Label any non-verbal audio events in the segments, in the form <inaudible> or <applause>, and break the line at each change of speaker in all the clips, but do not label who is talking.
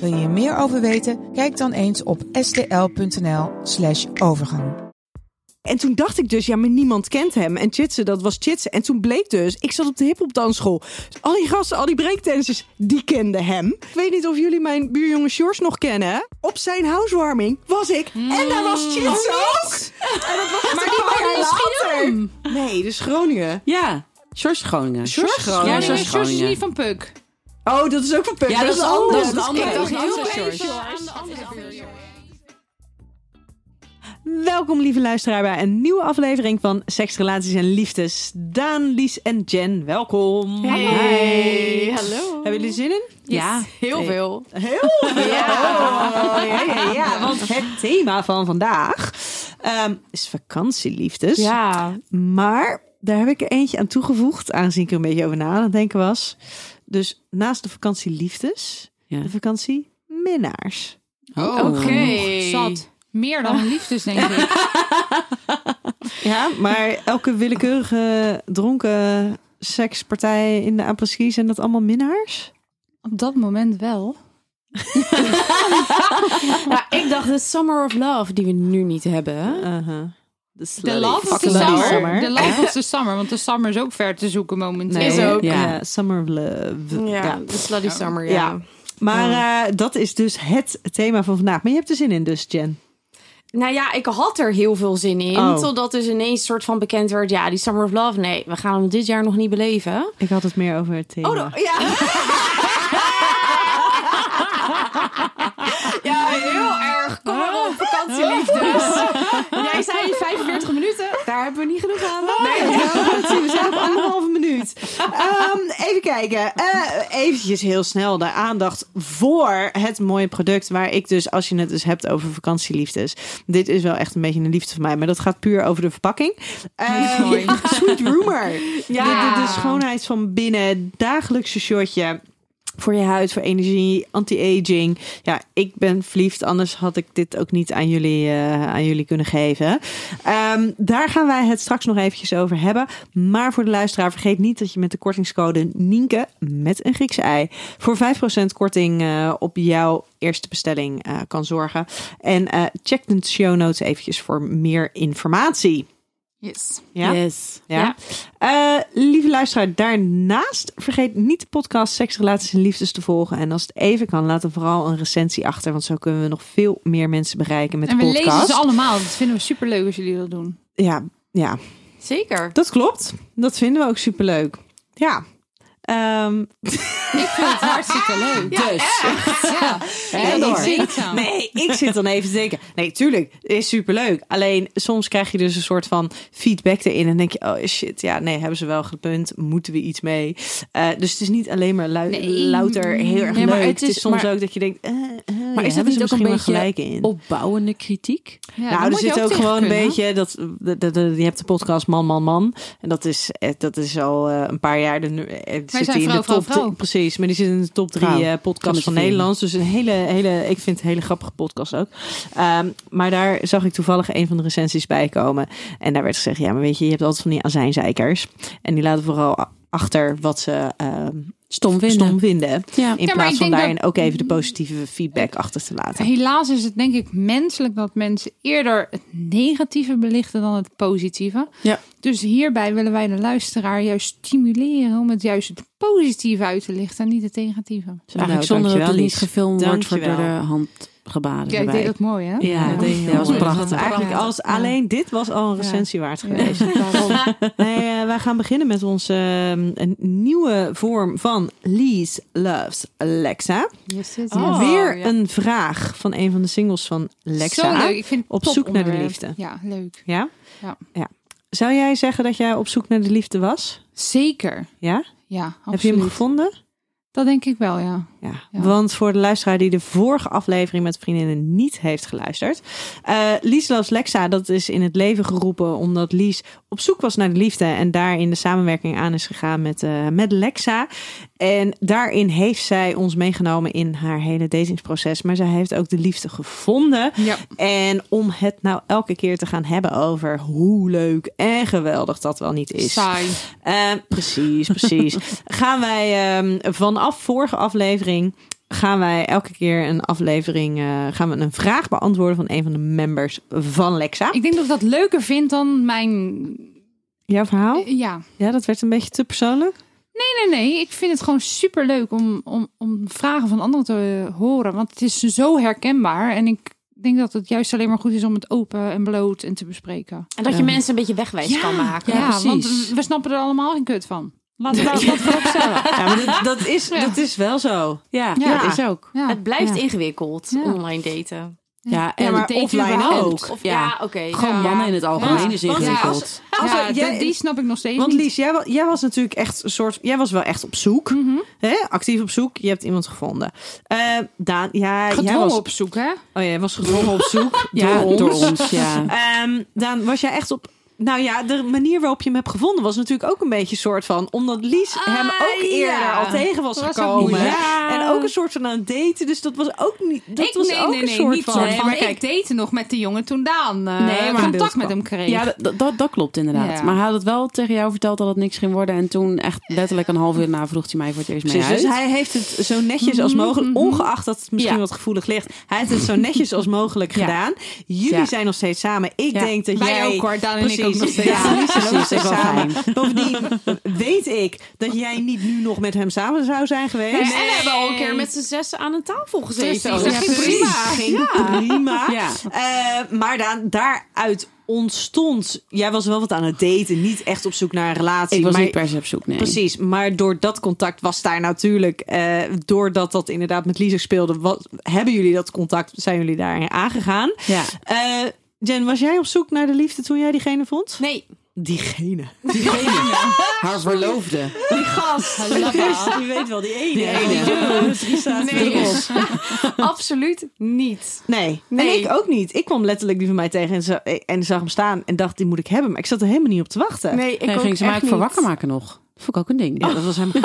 Wil je hier meer over weten? Kijk dan eens op stl.nl/slash overgang.
En toen dacht ik dus, ja, maar niemand kent hem. En Chitsen, dat was Chitsen. En toen bleek dus, ik zat op de hip-hop dansschool. Dus al die gasten, al die breakdancers, die kenden hem. Ik weet niet of jullie mijn buurjongen Shores nog kennen. hè? Op zijn housewarming was ik. En daar was
Oh,
Chitsen ook.
Maar die wonen in Schiedam.
Nee, dus Groningen.
Ja, George Groningen.
George Groningen.
Ja,
Ja,
nee, maar
George
Sjors is
Groningen.
niet van Puk.
Oh, dat is ook van Puk.
Ja, dat is anders.
anders.
Dat is anders.
Ik
Dat
dacht
is
heel
anders, Sjors.
even aan de andere buurt.
Welkom, lieve luisteraar, bij een nieuwe aflevering van Seks, Relaties en Liefdes. Daan, Lies en Jen, welkom.
Hey, hallo.
Hebben jullie zin in?
Ja,
Heel veel.
Heel veel. Ja. Ja, ja, <laughs> want het thema van vandaag ehm, is vakantieliefdes.
Ja.
Maar daar heb ik er eentje aan toegevoegd, aangezien ik er een beetje over na aan het denken was. Dus naast de vakantieliefdes,
Ja.
de vakantieminnaars.
Oh,
Oké.
Zat.
Meer dan liefdes, denk ik.
Ja, maar elke willekeurige dronken sekspartij in de apres-ski, zijn dat allemaal minnaars?
Op dat moment wel.
Ja, ik dacht de Summer of Love, die we nu niet hebben.
Uh-huh. De
De love of the
fucking love
summer.
summer.
De love of the summer. Want de summer is ook ver te zoeken momenteel.
Is ook.
Ja.
Ja.
Summer of Love.
Ja,
Ja.
de Slutty Summer, ja.
Ja. Maar eh, dat is dus het thema van vandaag. Maar je hebt er zin in dus, Jen.
Nou ja, ik had er heel veel zin in.
Oh.
Totdat dus ineens soort van bekend werd... ja, die Summer of Love, nee, we gaan hem dit jaar nog niet beleven.
Ik had het meer over het thema.
Oh, ja. <laughs> ja, heel erg. Kom maar op, vakantieliefdes. <laughs> Jij zei 45 minuten, daar hebben we niet genoeg aan.
Nee, we zijn op anderhalve minuut. Ehm, even kijken. Eh eventjes heel snel de aandacht voor het mooie product. Waar ik dus, als je het dus hebt over vakantieliefdes. Dit is wel echt een beetje een liefde van mij. Maar dat gaat puur over de verpakking. Eh,
mooi.
Sweet Rumor.
Ja.
De, de, de schoonheid van binnen. Dagelijkse shotje. Voor je huid, voor energie, anti-aging. Ja, ik ben verliefd. Anders had ik dit ook niet aan jullie, eh, aan jullie kunnen geven. Ehm, daar gaan wij het straks nog eventjes over hebben. Maar voor de luisteraar, vergeet niet dat je met de kortingscode Nienke met een Griekse ei voor 5% korting eh, op jouw eerste bestelling eh, kan zorgen. En eh, check de show notes eventjes voor meer informatie.
Yes.
Ja?
Yes.
Ja. Eh, lieve luisteraar, daarnaast vergeet niet de podcast Seks, Relaties en Liefdes te volgen. En als het even kan, laat er vooral een recensie achter. Want zo kunnen we nog veel meer mensen bereiken met
En we
de podcast.
lezen ze allemaal. Dat vinden we superleuk als jullie dat doen.
Ja, ja,
Zeker.
dat klopt. Dat vinden we ook superleuk. Ja. Ehm,
Ik vind het hartstikke leuk.
Dus.
Ja.
en
ik
door.
weet het.
Nee, ik zit dan even te denken. Nee, tuurlijk, is superleuk. Alleen soms krijg je dus een soort van feedback erin. En denk je, oh shit, ja, nee, hebben ze wel gepunt. Moeten we iets mee? Eh, dus het is niet alleen maar lui-
Nee.
louter heel erg
Nee, maar
leuk. Het
het
is,
is-
soms
maar-
ook dat je denkt, eh, eh,
dat
hebben ze
niet ook een
misschien wel
beetje
gelijk in?
Opbouwende kritiek.
Ja,
nou,
daar
er
moet je
zit ook
tegen
gewoon een
kunnen.
beetje dat de, de, de- je hebt de podcast Man Man Man en dat is eh, dat is al eh, een paar jaar de nu- eh, zit
zijn
die in
vrouw,
de
vrouw,
top
vrouw.
drie- precies, maar die zit in de top drie
Vrouw.
eh,
Kan
podcasts
het
van
vinden.
Nederlands, dus een hele hele ik vind het een hele grappige podcast ook. Ehm, maar daar zag ik toevallig een van de recensies bij komen en daar werd gezegd ja, maar weet je, je hebt altijd van die azijnzeikers en die laten vooral a- achter wat ze ehm,
Stom vinden.
stom vinden.
Ja.
In
maar
plaats
ik
van
denk
daarin
dat-
ook even de positieve feedback achter te laten.
Helaas is het denk ik menselijk dat mensen eerder het negatieve belichten dan het positieve.
Ja.
Dus hierbij willen wij de luisteraar juist stimuleren om het juist het positieve uit te lichten en niet het negatieve.
Dus eigenlijk
Nou,
zonder dat
dankjewel,
het niet
Lies.
gefilmd wordt voor de
Dankjewel.
handgebaren.
Jij deed
erbij.
dat mooi hè?
Ja,
Ja,
dat deed je heel
dat was
mooi.
prachtig.
Dat was
Eigenlijk
prachtig.
als, alleen dit was al een
Ja.
recensie waard
Ja,
geweest.
daarom.
<laughs> Nee, eh, wij gaan beginnen met onze ehm, een nieuwe vorm van Lees Loves Lexa.
Yes, yes, yes.
Oh,
Weer
ja.
een vraag van een van de singles van Lexa.
Zo leuk. Ik vind het
Op zoek naar de
toponderwerp.
liefde.
Ja, leuk.
Ja?
Ja.
Zou jij zeggen dat jij op zoek naar de liefde was?
Zeker.
Ja?
Ja, absoluut.
Heb je hem gevonden?
Dat denk ik wel, ja.
Ja,
Ja.
want voor de luisteraar die de vorige aflevering met vriendinnen niet heeft geluisterd. eh Lies Loves Lexa, dat is in het leven geroepen omdat Lies op zoek was naar de liefde. En daarin de samenwerking aan is gegaan met, eh, met Lexa. En daarin heeft zij ons meegenomen in haar hele datingsproces. Maar zij heeft ook de liefde gevonden.
Ja.
En om het nou elke keer te gaan hebben over hoe leuk en geweldig dat wel niet <laughs> is.
Saai.
Eh, precies, <laughs> precies. gaan wij ehm, vanaf vorige aflevering. Gaan wij elke keer een aflevering. eh, gaan we een vraag beantwoorden van een van de members van Lexa?
Ik denk dat ik dat leuker vind dan mijn...
Jouw verhaal?
Ja.
Ja, dat werd een beetje te persoonlijk.
Nee, nee, nee. Ik vind het gewoon super leuk om, om, om vragen van anderen te eh, horen. Want het is zo herkenbaar. En ik denk dat het juist alleen maar goed is om het open en bloot en te bespreken.
En dat je
Ja.
mensen een beetje wegwijs kan maken.
Ja, want
precies.
we- we snappen er allemaal geen kut van. Laten we dat dat voorop stellen.
Ja, maar dat, dat is,
Ja.
dat is wel zo.
Ja,
Ja.
dat is
<laughs>
ook.
Ja.
Het blijft ingewikkeld,
Ja.
online daten.
Ja, en
Ja, maar
het daten
offline
überhaupt.
ook.
Of, ja,
Ja.
oké.
Gewoon
Ja.
mannen in het algemeen
Ja.
is
Want-
ingewikkeld.
Als
ja,
er-
dat-
jij-
die snap ik nog steeds
Want
niet.
Lies, jij, wa- jij was natuurlijk echt een soort. Jij was wel echt op zoek. Hè? Actief op zoek. Je hebt iemand gevonden. Eh Daan, ja, jij
Gedwongen
was,
op zoek, hè?
Oh ja, jij was gedwongen op zoek.
Ja,
door ons.
ja.
Ehm, Daan, was jij echt op. Nou ja, de manier waarop je hem hebt gevonden was natuurlijk ook een beetje een soort van. Omdat Lies hem ook eerder al tegen was,
Dat was ook
gekomen.
moeilijk.
En ook een soort van aan het daten. Dus dat was ook niet. Dat was ook een soort
niet
van.
soort
Nee, maar
ik date nog met die jongen toen Daan eh,
Nee, maar-
contact met hem kreeg.
<laughs> Ja, dat, dat, dat klopt inderdaad.
Ja.
Maar hij had het wel tegen jou verteld dat het niks ging worden. En toen echt letterlijk een half uur na vroeg hij mij voor het eerst mee
Precies,
uit.
dus hij heeft het zo netjes als mogelijk, ongeacht dat het misschien
Ja.
wat gevoelig ligt, hij heeft het zo netjes als mogelijk
Ja.
gedaan. Jullie
Ja.
zijn nog steeds samen. Ik
Ja.
denk dat
Wij
jij...
ook, hoor. Daan en ik ook nog steeds.
Ja, jullie zijn ook nog
Precies,
steeds
dat is wel
samen. Bovendien weet ik dat jij niet nu nog met hem samen zou zijn geweest.
En we hebben al een keer met z'n zessen aan een tafel
Precies,
Oh,
gezeten.
dat
Ja,
ging
precies.
prima.
Ging prima.
<laughs> Ja.
Eh, maar dan, daaruit ontstond... Jij was wel wat aan het daten. Niet echt op zoek naar een relatie.
ik was
maar
niet per se op zoek, nee.
Precies, maar door dat contact was daar natuurlijk, eh, doordat dat inderdaad met Lisa speelde, wat, hebben jullie dat contact, zijn jullie daarin aangegaan.
Ja.
Eh, Jen, was jij op zoek naar de liefde toen jij diegene vond?
Nee,
<laughs> Diegene.
Haar verloofde.
Die gast. Die weet wel, die ene. Die ene.
Nee.
Nee.
absoluut niet.
nee.
Nee.
En ik ook niet. Ik kwam letterlijk die van mij tegen en, zo, en zag hem staan en dacht, die moet ik hebben. Maar ik zat er helemaal niet op te wachten.
Nee, ik
Nee,
ook
ging ze mij
echt
ook voor
niet.
wakker maken nog. Vond ik ook een ding.
Ja, <laughs> dat was hem. ja,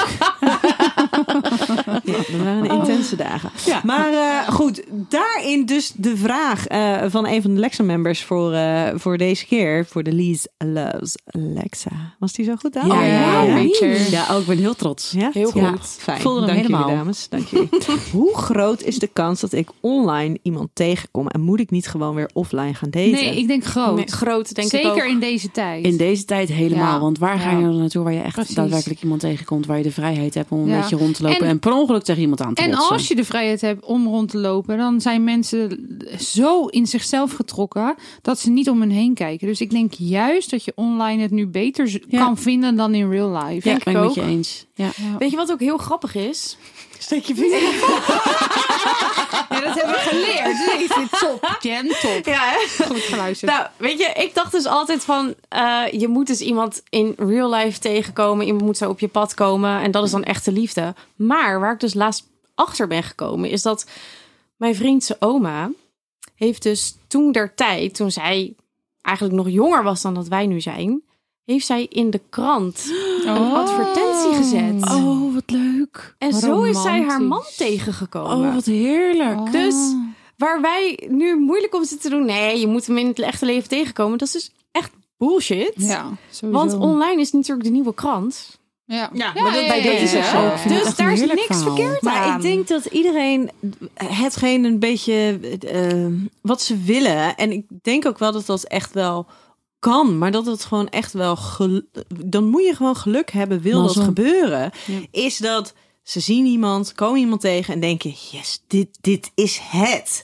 dat waren intense dagen. Maar eh, goed, daarin dus de vraag eh, van een van de Lexa-members voor, eh, voor deze keer. Voor de Lees Loves Lexa. Was die zo goed, Daan?
Ja,
Oh,
ja,
wauw,
ja.
Richard.
Ja, ook ik ben heel trots.
Ja?
Heel
Ja.
goed.
Fijn.
Voelde hem
Dank jullie,
helemaal.
dames. <laughs> Dank jullie. Hoe groot is de kans dat ik online iemand tegenkom en moet ik niet gewoon weer offline gaan daten?
Nee, ik denk groot.
Nee, groot, denk ik
Zeker
ook.
in deze tijd.
In deze tijd helemaal.
Ja.
Want waar ga je
Ja.
dan naartoe waar je echt
Precies.
daadwerkelijk iemand tegenkomt. Waar je de vrijheid hebt om een
Ja.
beetje rond te lopen.
En-
En, per ongeluk tegen iemand aan te
En
botsen.
als je de vrijheid hebt om rond te lopen, dan zijn mensen zo in zichzelf getrokken dat ze niet om hen heen kijken. Dus ik denk juist dat je online het nu beter z-
Ja.
kan vinden dan in real life.
Ja,
Denk
ben
ik
ik met
ook.
je eens. Ja.
Weet je wat ook heel grappig is?
steek je vinger in.
Ja, dat hebben we geleerd. <laughs> Nee, dit is top, Jen, top.
Ja, hè?
Goed
<laughs>
geluisterd.
Nou, weet je, ik dacht dus altijd van... eh, je moet dus iemand in real life tegenkomen. Iemand moet zo op je pad komen. En dat is dan echte liefde. Maar waar ik dus laatst achter ben gekomen... is dat mijn vriendse oma heeft dus toen der tijd... toen zij eigenlijk nog jonger was dan dat wij nu zijn... heeft zij in de krant
Oh.
een advertentie gezet.
Oh, wat leuk.
en zo is zij haar man
romantisch.
tegengekomen.
Oh, wat heerlijk.
Oh.
Dus waar wij nu moeilijk om zitten te doen... nee, je moet hem in het echte leven tegenkomen. Dat is dus echt bullshit.
Ja, sowieso.
Want online is natuurlijk de nieuwe krant.
Ja,
maar dat- bij deze is ook zo. Ik vind
Dus
het echt een
daar is
heerlijk
niks
verhaal.
verkeerd aan.
Maar ik denk dat iedereen hetgeen een beetje eh, wat ze willen. En ik denk ook wel dat dat echt wel kan. Maar dat het gewoon echt wel. gel- Dan moet je gewoon geluk hebben, wil dat
Mazzel.
gebeuren.
Ja.
Is dat ze zien iemand, komen iemand tegen en denken: yes, dit, dit is het.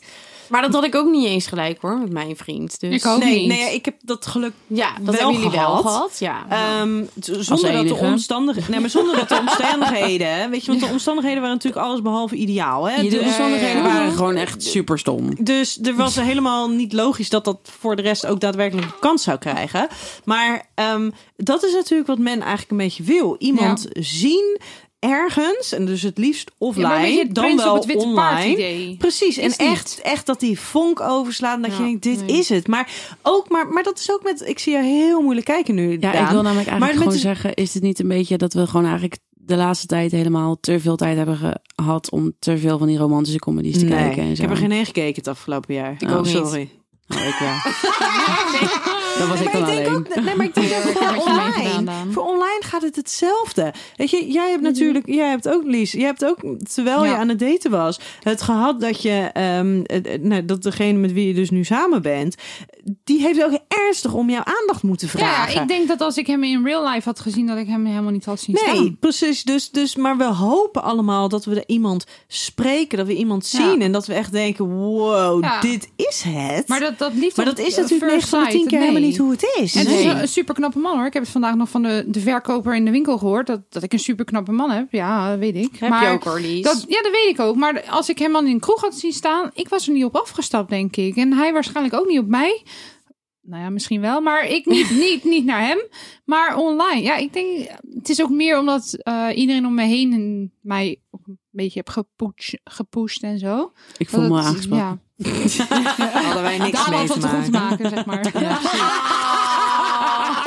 Maar dat had ik ook niet eens gelijk hoor, met mijn vriend. Dus...
Ik ook.
nee,
niet.
nee, ja, ik heb dat geluk.
Ja, dat
Wel
hebben jullie wel
gehad.
gehad. Ja.
ehm, t- zonder dat de
enige.
omstandigheden. Nee, maar zonder dat de omstandigheden. Weet je, want de omstandigheden waren natuurlijk alles behalve ideaal. Hè?
De
Dus-
omstandigheden waren gewoon echt super stom.
Dus er
<laughs>
was helemaal niet logisch dat dat voor de rest ook daadwerkelijk een kans zou krijgen. Maar ehm, dat is natuurlijk wat men eigenlijk een beetje wil. Iemand zien, ergens, en dus het liefst
Ja, maar een
offline,
beetje het
dan
prins
wel
op het witte paard
online.
idee.
Precies, en
Is niet.
echt, echt dat die vonk overslaat. Dat
Ja,
je denkt, dit
nee.
is het. Maar ook, maar, maar dat is ook met. Ik zie je heel moeilijk kijken nu.
Ja,
Daan.
ik wil namelijk
Maar
eigenlijk
met
gewoon
de-
zeggen, is dit niet een beetje dat we gewoon eigenlijk de laatste tijd helemaal te veel tijd hebben gehad om te veel van die romantische comedies te
Nee,
kijken en
ik
zo.
heb er geen één gekeken het afgelopen jaar.
Ik ook niet.
sorry.
Oh, ik wel. Dat was ik
maar
dan
ik denk
alleen.
ook, nee, maar
<laughs>
ik denk dat
heb
voor
wat je mee gedaan,
online,
Daan.
voor online gaat het hetzelfde. Weet je, jij hebt natuurlijk, jij hebt ook Lies, jij hebt ook, terwijl je
Mhm. Ja.
aan het daten was, het gehad dat je, ehm, eh, eh, nou, dat degene met wie je dus nu samen bent, die heeft ook ernstig om jouw aandacht moeten
Ja,
vragen.
ik denk dat als ik hem in real life had gezien, dat ik hem helemaal niet had zien
Nee,
staan.
precies. Dus, dus, maar we hopen allemaal dat we er iemand spreken, dat we iemand
Ja.
zien en dat we echt denken: wow,
Ja.
dit is het.
Maar dat, dat liefde
Maar dat
op,
is
eh,
natuurlijk
first
9 van de 10
sight,
keer helemaal
nee.
niet hoe het is.
En dus-
Nee.
het is een super knappe man hoor. Ik heb het vandaag nog van de, de verkoper in de winkel gehoord. Dat, dat ik een super knappe man heb. Ja, dat weet ik.
Heb
maar
je ook hoor, Lies.
Dat, ja, dat weet ik ook. Maar als ik hem dan in een kroeg had zien staan, ik was er niet op afgestapt, denk ik. En hij waarschijnlijk ook niet op mij. Nou ja, misschien wel, maar ik niet, niet, niet naar hem. Maar online. Ja, ik denk, het is ook meer omdat eh, iedereen om me heen en mij ook een beetje heb gepusht, gepusht en zo.
Ik voel me
Dat het-
aangesproken.
Ja,
hadden wij niks
daar
mee
had
te
wat goed te
maken.
maken, zeg maar. <laughs> Ja.
<laughs>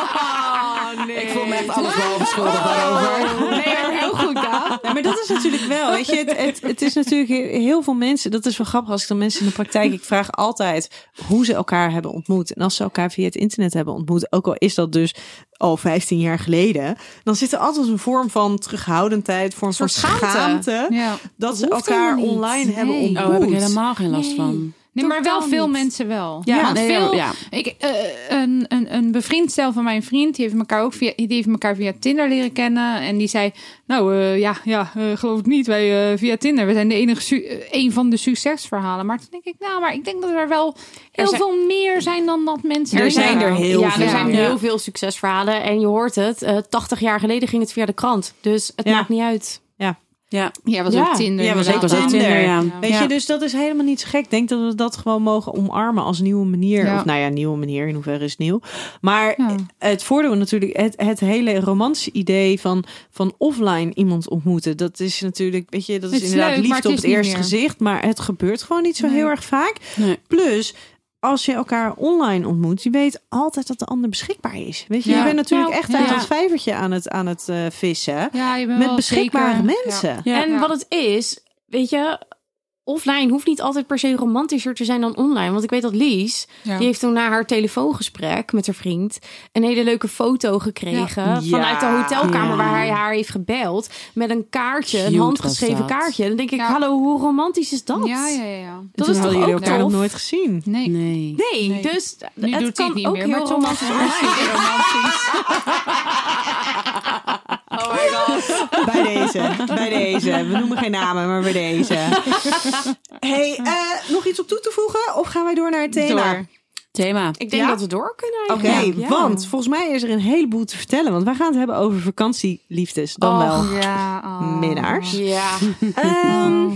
Ik voel me echt alles wel
Oh, Nee, maar heel goed, Daan.
Ja, maar dat is natuurlijk wel, weet je, het, het, het is natuurlijk he- heel veel mensen, dat is wel grappig als ik dan mensen in de praktijk, ik vraag altijd hoe ze elkaar hebben ontmoet. En als ze elkaar via het internet hebben ontmoet, ook al is dat dus al 15 jaar geleden, dan zit er altijd een vorm van terughoudendheid, vorm van
soort
schaamte,
schaamte.
Ja.
dat ze
Hoeft
elkaar
helemaal niet.
online hebben
Nee.
ontmoet.
Oh, heb ik helemaal geen last van.
Nee, maar wel
Totaal
veel
niet.
mensen wel.
Ja,
Want
nee,
veel,
ja.
Ik, eh, een, een, een bevriend stel van mijn vriend, die heeft elkaar ook via, die heeft elkaar via Tinder leren kennen. En die zei, nou eh, ja, ja eh, geloof ik niet, wij eh, via Tinder, we zijn de enige, su- eh, een van de succesverhalen. Maar toen denk ik, nou, maar ik denk dat er wel heel
zijn-
veel meer zijn dan dat mensen
Er
denken.
zijn er heel
ja,
veel.
er zijn
Ja.
heel veel succesverhalen. En je hoort het, eh 80 jaar geleden ging het via de krant. Dus het
Ja.
maakt niet uit.
Ja,
Jij was
Ja.
op Tinder.
Jij was ook
ik was
inderdaad.
ook Tinder, ja.
Ja.
Weet je, dus dat is helemaal niet zo gek. Ik denk dat we dat gewoon mogen omarmen als nieuwe manier.
Ja.
Of nou ja, nieuwe manier, in hoeverre is het nieuw. Maar
Ja.
het voordeel natuurlijk, het, het hele romantische idee van, van offline iemand ontmoeten. Dat is natuurlijk, weet je, dat is,
Het is
inderdaad
leuk, maar
liefde
het
op
is
het
niet
eerste
meer.
gezicht. Maar het gebeurt gewoon niet zo
Nee.
heel erg vaak.
Nee.
Plus... Als je elkaar online ontmoet, je weet altijd dat de ander beschikbaar is. Weet je,
Ja.
je bent natuurlijk
Nou,
echt uit
ja.
dat vijvertje aan het, aan het eh, vissen.
Ja, je bent
met
wel
beschikbare
zeker-
mensen.
Ja.
Ja.
en wat het is, weet je, offline hoeft niet altijd per se romantischer te zijn dan online. Want ik weet dat Lies,
Ja.
die heeft toen na haar telefoongesprek met haar vriend een hele leuke foto gekregen
Ja.
vanuit de hotelkamer
Ja.
waar hij haar heeft gebeld met een kaartje, een
Cute
handgeschreven
was dat.
kaartje. Dan denk ik,
Ja.
hallo, hoe romantisch is dat?
Ja, ja, ja. ja.
Toen
Dat is toch
hadden jullie
ook
elkaar nog
tof?
nooit gezien.
Nee.
Nee.
Nee,
Nee.
dus
Nu
het
doet hij
kan
het niet
ook
meer,
heel
maar toen
romantisch
was het
worden.
<laughs> hartstikke romantisch.
Bij deze, bij deze. We noemen geen namen, maar bij deze. hey, eh, nog iets op toe te voegen? Of gaan wij door naar het thema?
Door.
Thema.
Ik denk
Ja?
dat we door kunnen
Oké,
eigenlijk. Ja.
want volgens mij is er een heleboel te vertellen. Want wij gaan het hebben over vakantieliefdes. Dan wel
Ja, oh.
minnaars.
Ja.
Ehm,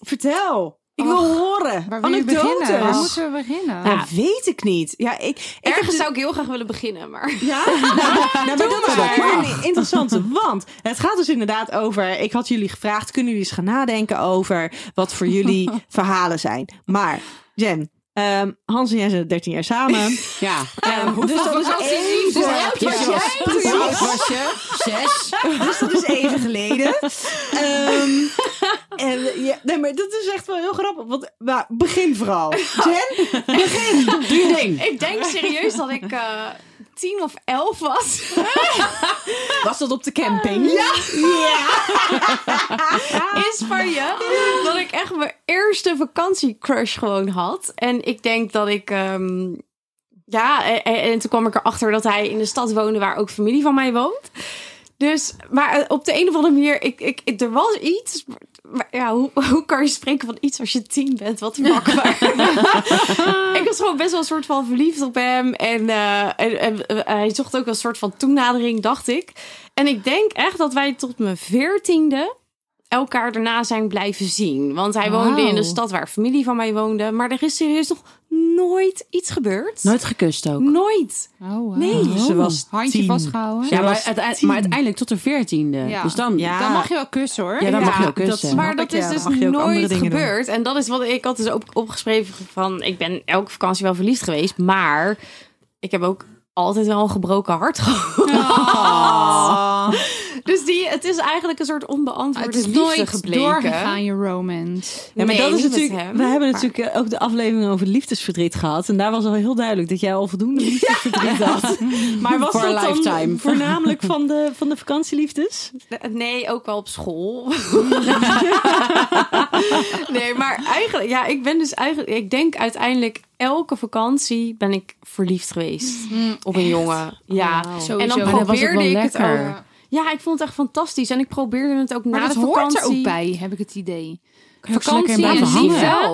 vertel. Ik wil horen.
oh. Waar wil je beginnen? Waar
Anekdotes.
moeten we beginnen?
Ja, weet ik niet. Ja, ik, ik heb dus-
Ergens
de-
zou ik heel graag willen beginnen, maar...
<laughs> Ja, nou,
<laughs>
nou, maar dat is
maar.
ook weer een interessante. Want het gaat dus inderdaad over. Ik had jullie gevraagd: kunnen jullie eens gaan nadenken over wat voor
<laughs>
jullie verhalen zijn? Maar, Jen, ehm, Hans en jij zijn 13 jaar
<laughs>
samen.
Ja.
Ehm, dus dat is even.
Dus elk
Ja.
was jij?
Precies. was je? Zes.
<laughs> Dus dat is even
<laughs>
geleden. Ehm, en, ja, nee, maar dat is echt wel heel grappig. Want, maar begin
<laughs>
vooral. Jen,
Doe je ding.
<laughs> Ik denk serieus dat ik eh, tien of elf was.
<laughs> was dat op de camping? Ja.
<laughs> In Spanje. Dat ik echt mijn eerste vakantiecrush gewoon had. En ik denk dat ik... ehm, ja, en, en- en toen kwam ik erachter dat hij in de stad woonde waar ook familie van mij woont. Dus, maar eh, op de een of andere manier, ik, ik, ik- er was iets. Maar ja, hoe, hoe kan je spreken van iets als je tien bent? Wat makkelijk. <laughs> ik was gewoon best wel een soort van verliefd op hem. En, eh, en, en, eh, hij zocht ook een soort van toenadering, dacht ik. En ik denk echt dat wij tot mijn veertiende elkaar daarna zijn blijven zien. Want hij woonde in de
Wauw.
stad waar familie van mij woonde. Maar er is serieus nog nooit iets gebeurd.
Nooit gekust ook.
Nooit.
Oh, wauw.
Nee.
Ze was
Handje
tien.
vastgehouden.
Ja, maar, uiteind- maar uiteindelijk tot de veertiende.
Ja.
Dus dan,
Ja.
Dan mag je wel kussen hoor.
Ja, dan mag je ook
dat
kussen.
is-
Maar
Snap
dat
ik,
is
ja.
dus
Dan mag je ook andere
nooit
dingen doen.
gebeurd. En dat is wat ik had dus ook opgeschreven van... Ik ben elke vakantie wel verliefd geweest. Maar ik heb ook altijd wel een gebroken hart <laughs> gehad. Dus die, het is eigenlijk een soort
Ah,
onbeantwoord
het is
liefde
nooit
gebleken.
doorgegaan je romance.
Ja, maar
Nee,
dat is
niet met
natuurlijk.
hem,
we hebben
maar-
natuurlijk eh, ook de aflevering over liefdesverdriet gehad. En daar was al heel duidelijk dat jij al voldoende liefdesverdriet had. Maar was
For a
dat dan
lifetime.
voornamelijk van de, van de vakantieliefdes?
Eh, Nee, ook wel op
<laughs>
school. nee, maar eigenlijk, ja, ik ben dus eigenlijk, ik denk uiteindelijk elke vakantie ben ik verliefd geweest
Mm,
op een jongen. Ja,
Sowieso.
en
Oh. Maar
dan
dan was het
probeerde
wel
ik het
lekker.
ook. Ja, ik vond het echt fantastisch en ik probeerde het ook
Maar
na
dat
de
hoort
vakantie.
er ook bij, heb ik het idee.
je ook zo lekker
Vakantie
in
en
blijven hangen.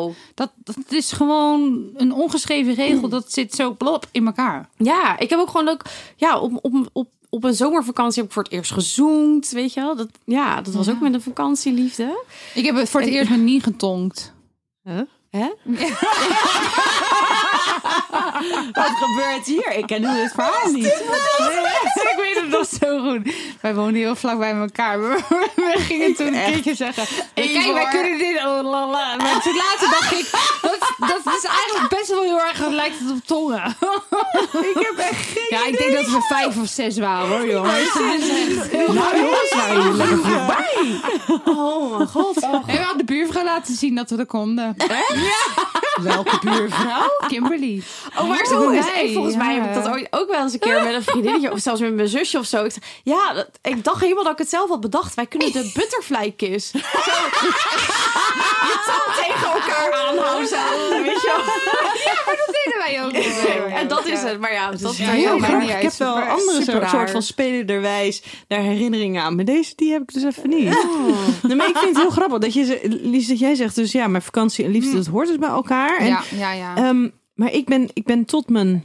liefde, dat, dat is gewoon een ongeschreven regel. Dat zit zo plop in elkaar.
Ja, ik heb ook gewoon ook, ja, op, op, op, op een zomervakantie heb ik voor het eerst gezoend, weet je wel? Dat, ja, dat was ook met een vakantieliefde.
Ik heb het voor het eerst met Nien getonkt. <laughs>
Hè?
Wat gebeurt hier? Ik ken nu het verhaal niet.
ik weet het nog zo goed. Wij woonden heel vlak bij elkaar. We, we gingen toen een keertje zeggen. Kijk, wij
hoor.
kunnen dit. Oh, la, la. Maar toen later dacht ik. Dat, dat is eigenlijk best wel heel erg. Lijkt het op tongen. Ik heb echt geen Ja, ik denk dat we vijf of zes waren hoor, jongens.
Nou, jongens, waren jullie lekker vroeg bij.
Oh mijn god.
En we hadden de buurvrouw laten zien dat we er konden.
Welke buurvrouw?
Kimberly.
Oh, maar
Hoort
zo
erbij,
is hey, volgens mij
ja.
heb ik dat ooit ook wel eens een keer met een vriendinnetje of zelfs met mijn zusje of zo. Ik, zei, ja, dat, ik dacht helemaal dat ik het zelf had bedacht. Wij kunnen de butterfly kiss. Zo. Je tong tegen elkaar aanhouden. Zo, weet je wel.
Dat deden wij
<laughs>
ook.
En dat is het. Maar ja, dat is
Ja, heel
Heel
maakt
grappig.
niet
Ik
uit.
heb wel
Super-
andere
super
soort,
raar.
soort van spelenderwijs daar herinneringen aan. Maar deze die heb ik dus even niet. Nee, maar ik vind het heel grappig dat, je, ze- Lies, dat jij zegt dus ja, maar vakantie en liefde, dat hoort dus bij elkaar. En
Ja, ja, ja.
Ehm, maar ik ben, ik ben tot mijn,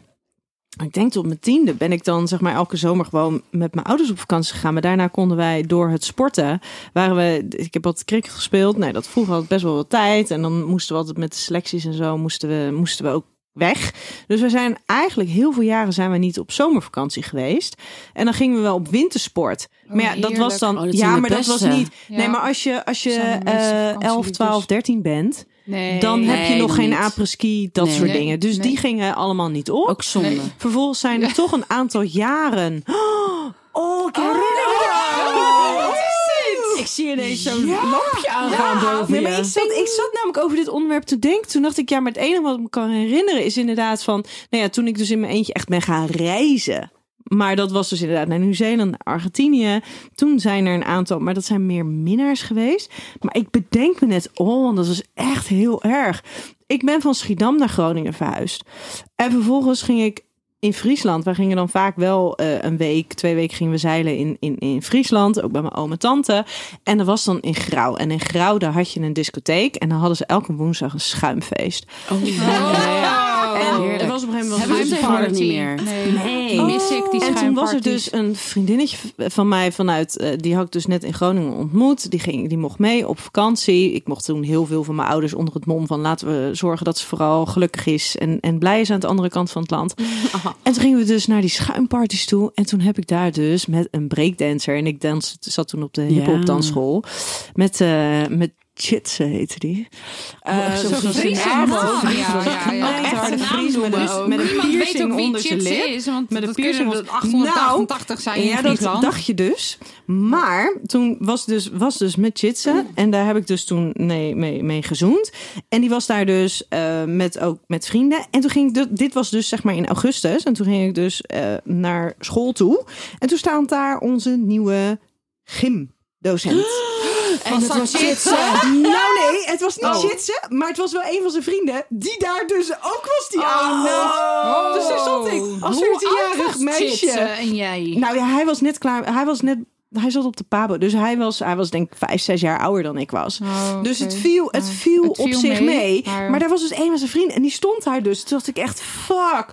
ik denk tot mijn tiende, ben ik dan zeg maar elke zomer gewoon met mijn ouders op vakantie gegaan. Maar daarna konden wij door het sporten, waren we, ik heb wat cricket gespeeld. Nou, dat vroeg altijd best wel wat tijd. En dan moesten we altijd met de selecties en zo, moesten we, moesten we ook weg. Dus we zijn eigenlijk heel veel jaren zijn we niet op zomervakantie geweest. En dan gingen we wel op wintersport. maar ja, dat
heerlijk.
was dan,
Oh, dat zijn
ja,
de
maar dat was
beste.
niet.
Ja.
Nee, maar als je, als je
Zijn de meeste
eh 11,
vakantieliefdes.
12, 13 bent,
Nee.
dan heb je
Nee,
nog
dan
geen
niet.
apres-ski, dat
Nee.
soort
Nee.
dingen. Dus
Nee.
die gingen allemaal niet op.
Ook zonde.
Nee.
Vervolgens zijn er toch een aantal jaren. Oh, ik herinner me dat. Ik zie ineens zo'n lampje aangaan boven nee, maar ik, zat, ik zat namelijk over dit onderwerp te denken. Toen dacht ik, ja, maar het enige wat ik me kan herinneren is inderdaad van... Nou ja, toen ik dus in mijn eentje echt ben gaan reizen. Maar dat was dus inderdaad naar Nieuw-Zeeland, naar Argentinië. Toen zijn er een aantal, maar dat zijn meer minnaars geweest. Maar ik bedenk me net, oh, want dat was echt heel erg. Ik ben van Schiedam naar Groningen verhuisd. En vervolgens ging ik in Friesland. Wij gingen dan vaak wel eh, een week, twee weken gingen we zeilen in, in, in Friesland. Ook bij mijn oom en tante. En dat was dan in Grauw. En in Grauw, daar had je een discotheek. En dan hadden ze elke woensdag een schuimfeest. en er was op een gegeven moment...
Oh, Hebben
was dus een
we het tegenwoordig
party.
niet meer?
Nee. Die
Oh.
mis ik, die
En toen was er
schuimparties.
dus een vriendinnetje van mij vanuit, eh, die had ik dus net in Groningen ontmoet. Die, ging, die mocht mee op vakantie. Ik mocht toen heel veel van mijn ouders onder het mom van laten we zorgen dat ze vooral gelukkig is en, en blij is aan de andere kant van het
<laughs>
land.
Oh.
En toen gingen we dus naar die schuimparties toe. En toen heb ik daar dus met een breakdancer. En ik dans, zat toen op de hip-hop dansschool. Met, eh met Chitse heette die.
Oh,
Eh,
zo'n
zo'n
Friese
Friese
naam.
man.
Ja, ja, ja.
Zo'n
Ook echt
knijterharde
een dus.
Fries
naam
met
noemen
een-
ook.
met een
Niemand weet
piercing
ook wie
onder zijn
Chitse
lip.
is, want
Met
met
een
dat
piercing
kunnen Nou,
was-
er 888 zijn in
Ja, dat
Friesland.
dacht je dus. Maar toen was dus, was dus met
Mm.
Chitsen. En daar heb ik dus toen mee, mee, mee gezoend. En die was daar dus eh, met, ook met vrienden. En toen ging ik, dit- dit was dus zeg maar in augustus. En toen ging ik dus eh, naar school toe. En toen staat daar onze nieuwe gymdocent.
<gasps>
En
Was dat Chitsen?
Nou nee, het was niet
Oh.
Chitsen, maar het was wel een van zijn vrienden die daar dus ook was die avond. Dus daar stond ik als
Oh. Hoe oud
14-jarig
was Chitsen
meisje.
En jij.
Nou ja, hij was net klaar. Hij was net. Hij zat op de Pabo. Dus hij was, hij was denk ik vijf, zes jaar ouder dan ik was.
Oh,
Dus het
oké.
viel, het
Ja.
viel
Het
op
viel
zich mee.
mee,
Maar...
maar-
daar was dus een van zijn vrienden. En die stond daar dus. Toen dacht ik echt, fuck.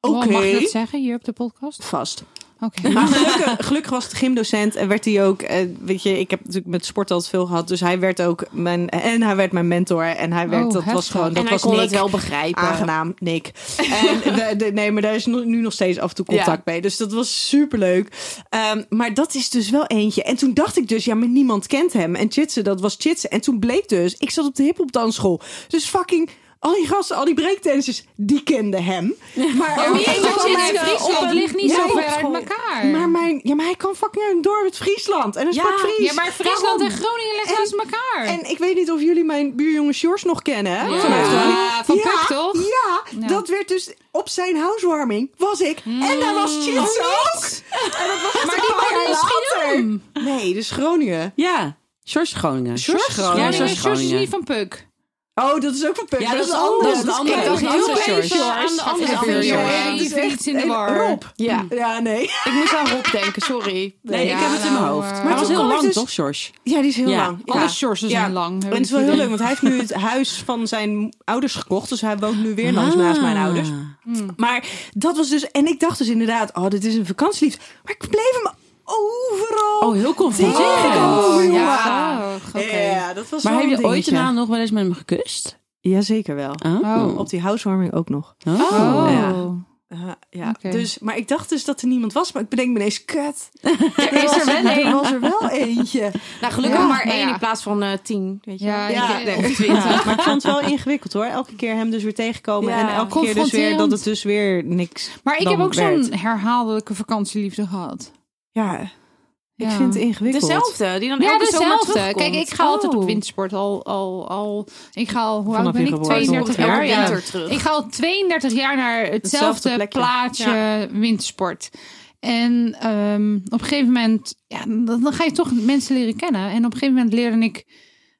Oké.
Oh, mag je dat zeggen hier op de podcast?
Vast.
Oké.
Maar
<laughs>
gelukkig, gelukkig was het gymdocent en werd hij ook, eh, weet je, ik heb natuurlijk met sport altijd veel gehad, dus hij werd ook mijn en hij werd mijn mentor en hij werd
Oh,
dat was
heftig.
gewoon dat
en hij
was
kon
Nick.
het wel
eh,
begrijpen.
Aangenaam, Nick. En
<laughs>
de- de- nee, maar daar is nu nu nog steeds af en toe contact mee. Dus dat was superleuk. Ehm, maar dat is dus wel eentje. En toen dacht ik dus, ja, maar niemand kent hem. En Chitsen, dat was Chitsen. En toen bleek dus, ik zat op de hip-hop dansschool. Dus fucking al die gasten, al die breakdancers, die kenden hem. Maar
Oh,
op een
jee,
gegeven
dat
moment-
zit in Friesland.
op een-
Het ligt niet
Ja,
zo
op
ver uit
school.
elkaar.
Maar, mijn, ja, maar hij kwam fucking uit een dorp uit Friesland. En hij
Ja,
sprak Fries.
ja, maar Friesland en Groningen liggen
En-
naast elkaar.
En ik weet niet of jullie mijn buurjongen Sjors nog kennen. hè,
Ja.
vanuit Groningen.
Ja, van Puck, toch?
Ja,
Ja.
dat werd dus op zijn housewarming was ik. En daar
Hmm.
was Chits
Oh,
ook. En dat was maar die
woonde in Schiedam.
Nee, dus Groningen.
Ja, George Groningen.
Sjors
Ja,
Ja,
Groningen.
Sjors
nee, Sjors is
Groningen.
niet van Puk.
Oh, dat is Dus ook van Puck.
Ja, dat is anders. Dat is
kijk,
anders.
dat is
Ik
heel
dacht
even
even
Sjors.
aan de andere
oh, Even
buurjongen.
Sjors.
Ja,
Dat
die
is
vind
echt-
iets in de
en
war.
Rob.
Ja.
Ja, nee.
Ik moest aan Rob denken, sorry.
Nee, ik
Ja,
heb het in mijn
nou,
hoofd.
eh,
Maar het was
toen
heel
kwam ik
lang,
dus-
toch, George?
Ja, die is heel
Ja.
lang.
Alle
Ja.
Sjorsen
Ja.
zijn lang.
En het is wel heel leuk, want hij heeft nu het huis van zijn ouders gekocht. Dus hij woont nu weer langs
Ah.
naast mijn ouders. Maar dat was dus... En ik dacht dus inderdaad, oh, dit is een vakantieliefde. Maar ik bleef hem overal
Oh, heel confronterend.
Oh,
Tegenkomen, Oh, jongen.
ja. Oké.
Ja, dat was
Maar
wel
heb je
een
ooit
dingetje.
daarna nog wel eens met hem gekust?
Jazeker wel.
Oh.
Oh.
Op die housewarming ook nog.
Oh.
Oh.
Ja. Ja, ja.
Oké.
Dus, maar ik dacht dus dat er niemand was. Maar ik bedenk me ineens, kut.
Er is er
<laughs>
wel
Er
één.
was er wel eentje.
Nou, gelukkig
Ja,
maar
nou
één
ja.
in plaats van eh, tien. Weet je.
Ja,
Ja,
ik-
nee.
of
Ja,
twintig.
maar ik vond het wel ingewikkeld hoor. Elke keer hem dus weer tegenkomen.
Ja.
En elke keer dus weer
Confronterend.
dat het dus weer niks
Maar ik
dan
heb ook
werd.
zo'n herhaaldelijke vakantieliefde gehad.
Ja, ik
Ja.
vind het ingewikkeld.
Dezelfde, die dan
Ja,
elke zomer
dezelfde.
terugkomt.
Kijk, ik ga altijd op
Oh.
wintersport al, al, al. Ik ga al, hoe
Vanaf
oud ben
je
ik?
geboorte.
32
Elke
jaar. ja.
winter terug.
Ik ga al 32 jaar naar
Hetzelfde
hetzelfde
plekje.
plaatje wintersport. En ehm, op een gegeven moment, ja, dan, dan ga je toch mensen leren kennen. En op een gegeven moment leerde ik,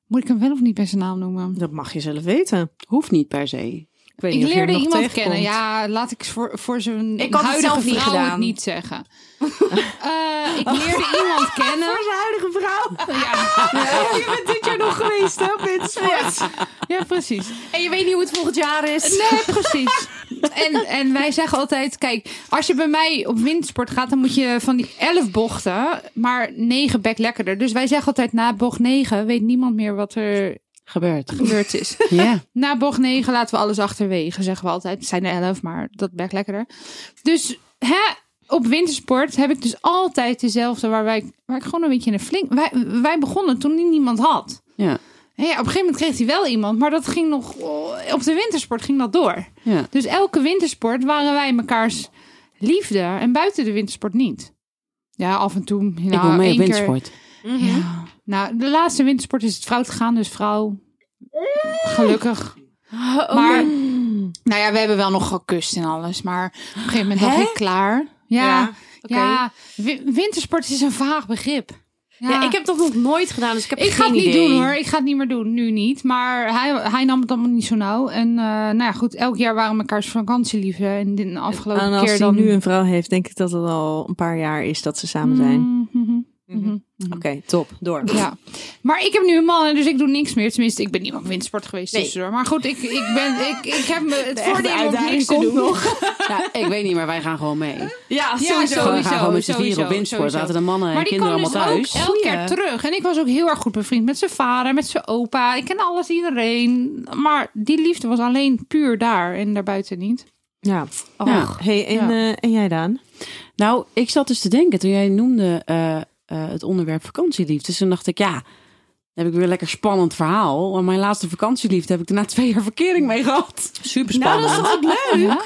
moet ik hem wel of niet bij zijn naam noemen?
Dat mag je zelf weten.
Hoeft niet per se.
weet
Ik
niet of je hem
leerde
nog
iemand
tegenkomt.
kennen. Ja, laat ik voor, voor zijn
Ik had het
huidige
zelf niet
vrouw het
gedaan.
niet zeggen. <laughs> Eh, ik leerde iemand kennen.
Voor <laughs> zijn huidige vrouw.
Ja,
Je bent dit jaar nog geweest, hè, wintersport.
ja precies.
En je weet niet hoe het volgend jaar is.
Nee, precies. En, en wij zeggen altijd, kijk, als je bij mij op windsport gaat, dan moet je van die elf bochten, maar negen bek lekkerder. Dus wij zeggen altijd, na bocht negen weet niemand meer wat er
Gebeurt.
gebeurd is.
Ja.
Na bocht 9 laten we alles achterwege, zeggen we altijd. Het zijn er 11, maar dat werkt lekkerder. Dus hè, op wintersport heb ik dus altijd dezelfde waar, wij, waar ik gewoon een beetje een flink... Wij, wij begonnen toen die niemand had.
Ja.
Hè, Ja, op een gegeven moment kreeg hij wel iemand, maar dat ging nog... oh, Op de wintersport ging dat door.
Ja.
Dus elke wintersport waren wij mekaars liefde en buiten de wintersport niet. Ja, af en toe. Nou,
ik wil mee
één
op
keer-
windsport.
ja. Nou, de laatste wintersport is het fout gegaan, dus vrouw. Gelukkig.
Oh,
Maar, nou ja, we hebben wel nog gekust en alles. Maar op een gegeven moment dacht
Hè?
ik klaar. Ja, ja,
oké.
wi- wintersport is een vaag begrip. Ja,
Ja, ik heb dat nog nooit gedaan, dus ik heb
ik ga
geen
het niet
idee.
doen hoor. Ik ga het niet meer doen. Nu niet. Maar hij, hij nam het allemaal niet zo nauw. En eh, nou ja, goed. Elk jaar waren we mekaars vakantieliefde. En de afgelopen
En als
keer
hij
dan...
nu een vrouw heeft, denk ik dat het al een paar jaar is dat ze samen zijn.
Mm, mhm, mhm.
Oké, top. Door.
Ja, maar ik heb nu een man, dus ik doe niks meer. Tenminste, ik ben niet meer op windsport geweest
Nee.
tussendoor. Maar goed, ik, ik, ben, ik, ik heb me het
Echt, de
voordeel om
uitdaging
niks te
komt
doen.
nog.
Ja, ik weet niet, maar wij gaan gewoon mee.
Ja,
Ja,
sowieso.
we
sowieso,
gaan gewoon met z'n
sowieso,
vieren op windsport.
sowieso.
Zaten de mannen en
Maar die
kinderen
kwam
allemaal
dus
thuis.
ook elke
Goeie.
keer terug. En ik was ook heel erg goed bevriend met zijn vader, met zijn opa. Ik ken alles, iedereen. Maar die liefde was alleen puur daar en daarbuiten niet.
Ja.
Ja.
Hey, en,
Ja.
eh, en jij Daan?
Nou, ik zat dus te denken toen jij noemde eh, eh, het onderwerp vakantieliefde. Dus toen dacht ik, ja, dan heb ik weer een lekker spannend verhaal. Want mijn laatste vakantieliefde heb ik daarna <laughs> twee jaar verkering mee gehad. Super spannend. Nou,
Oh,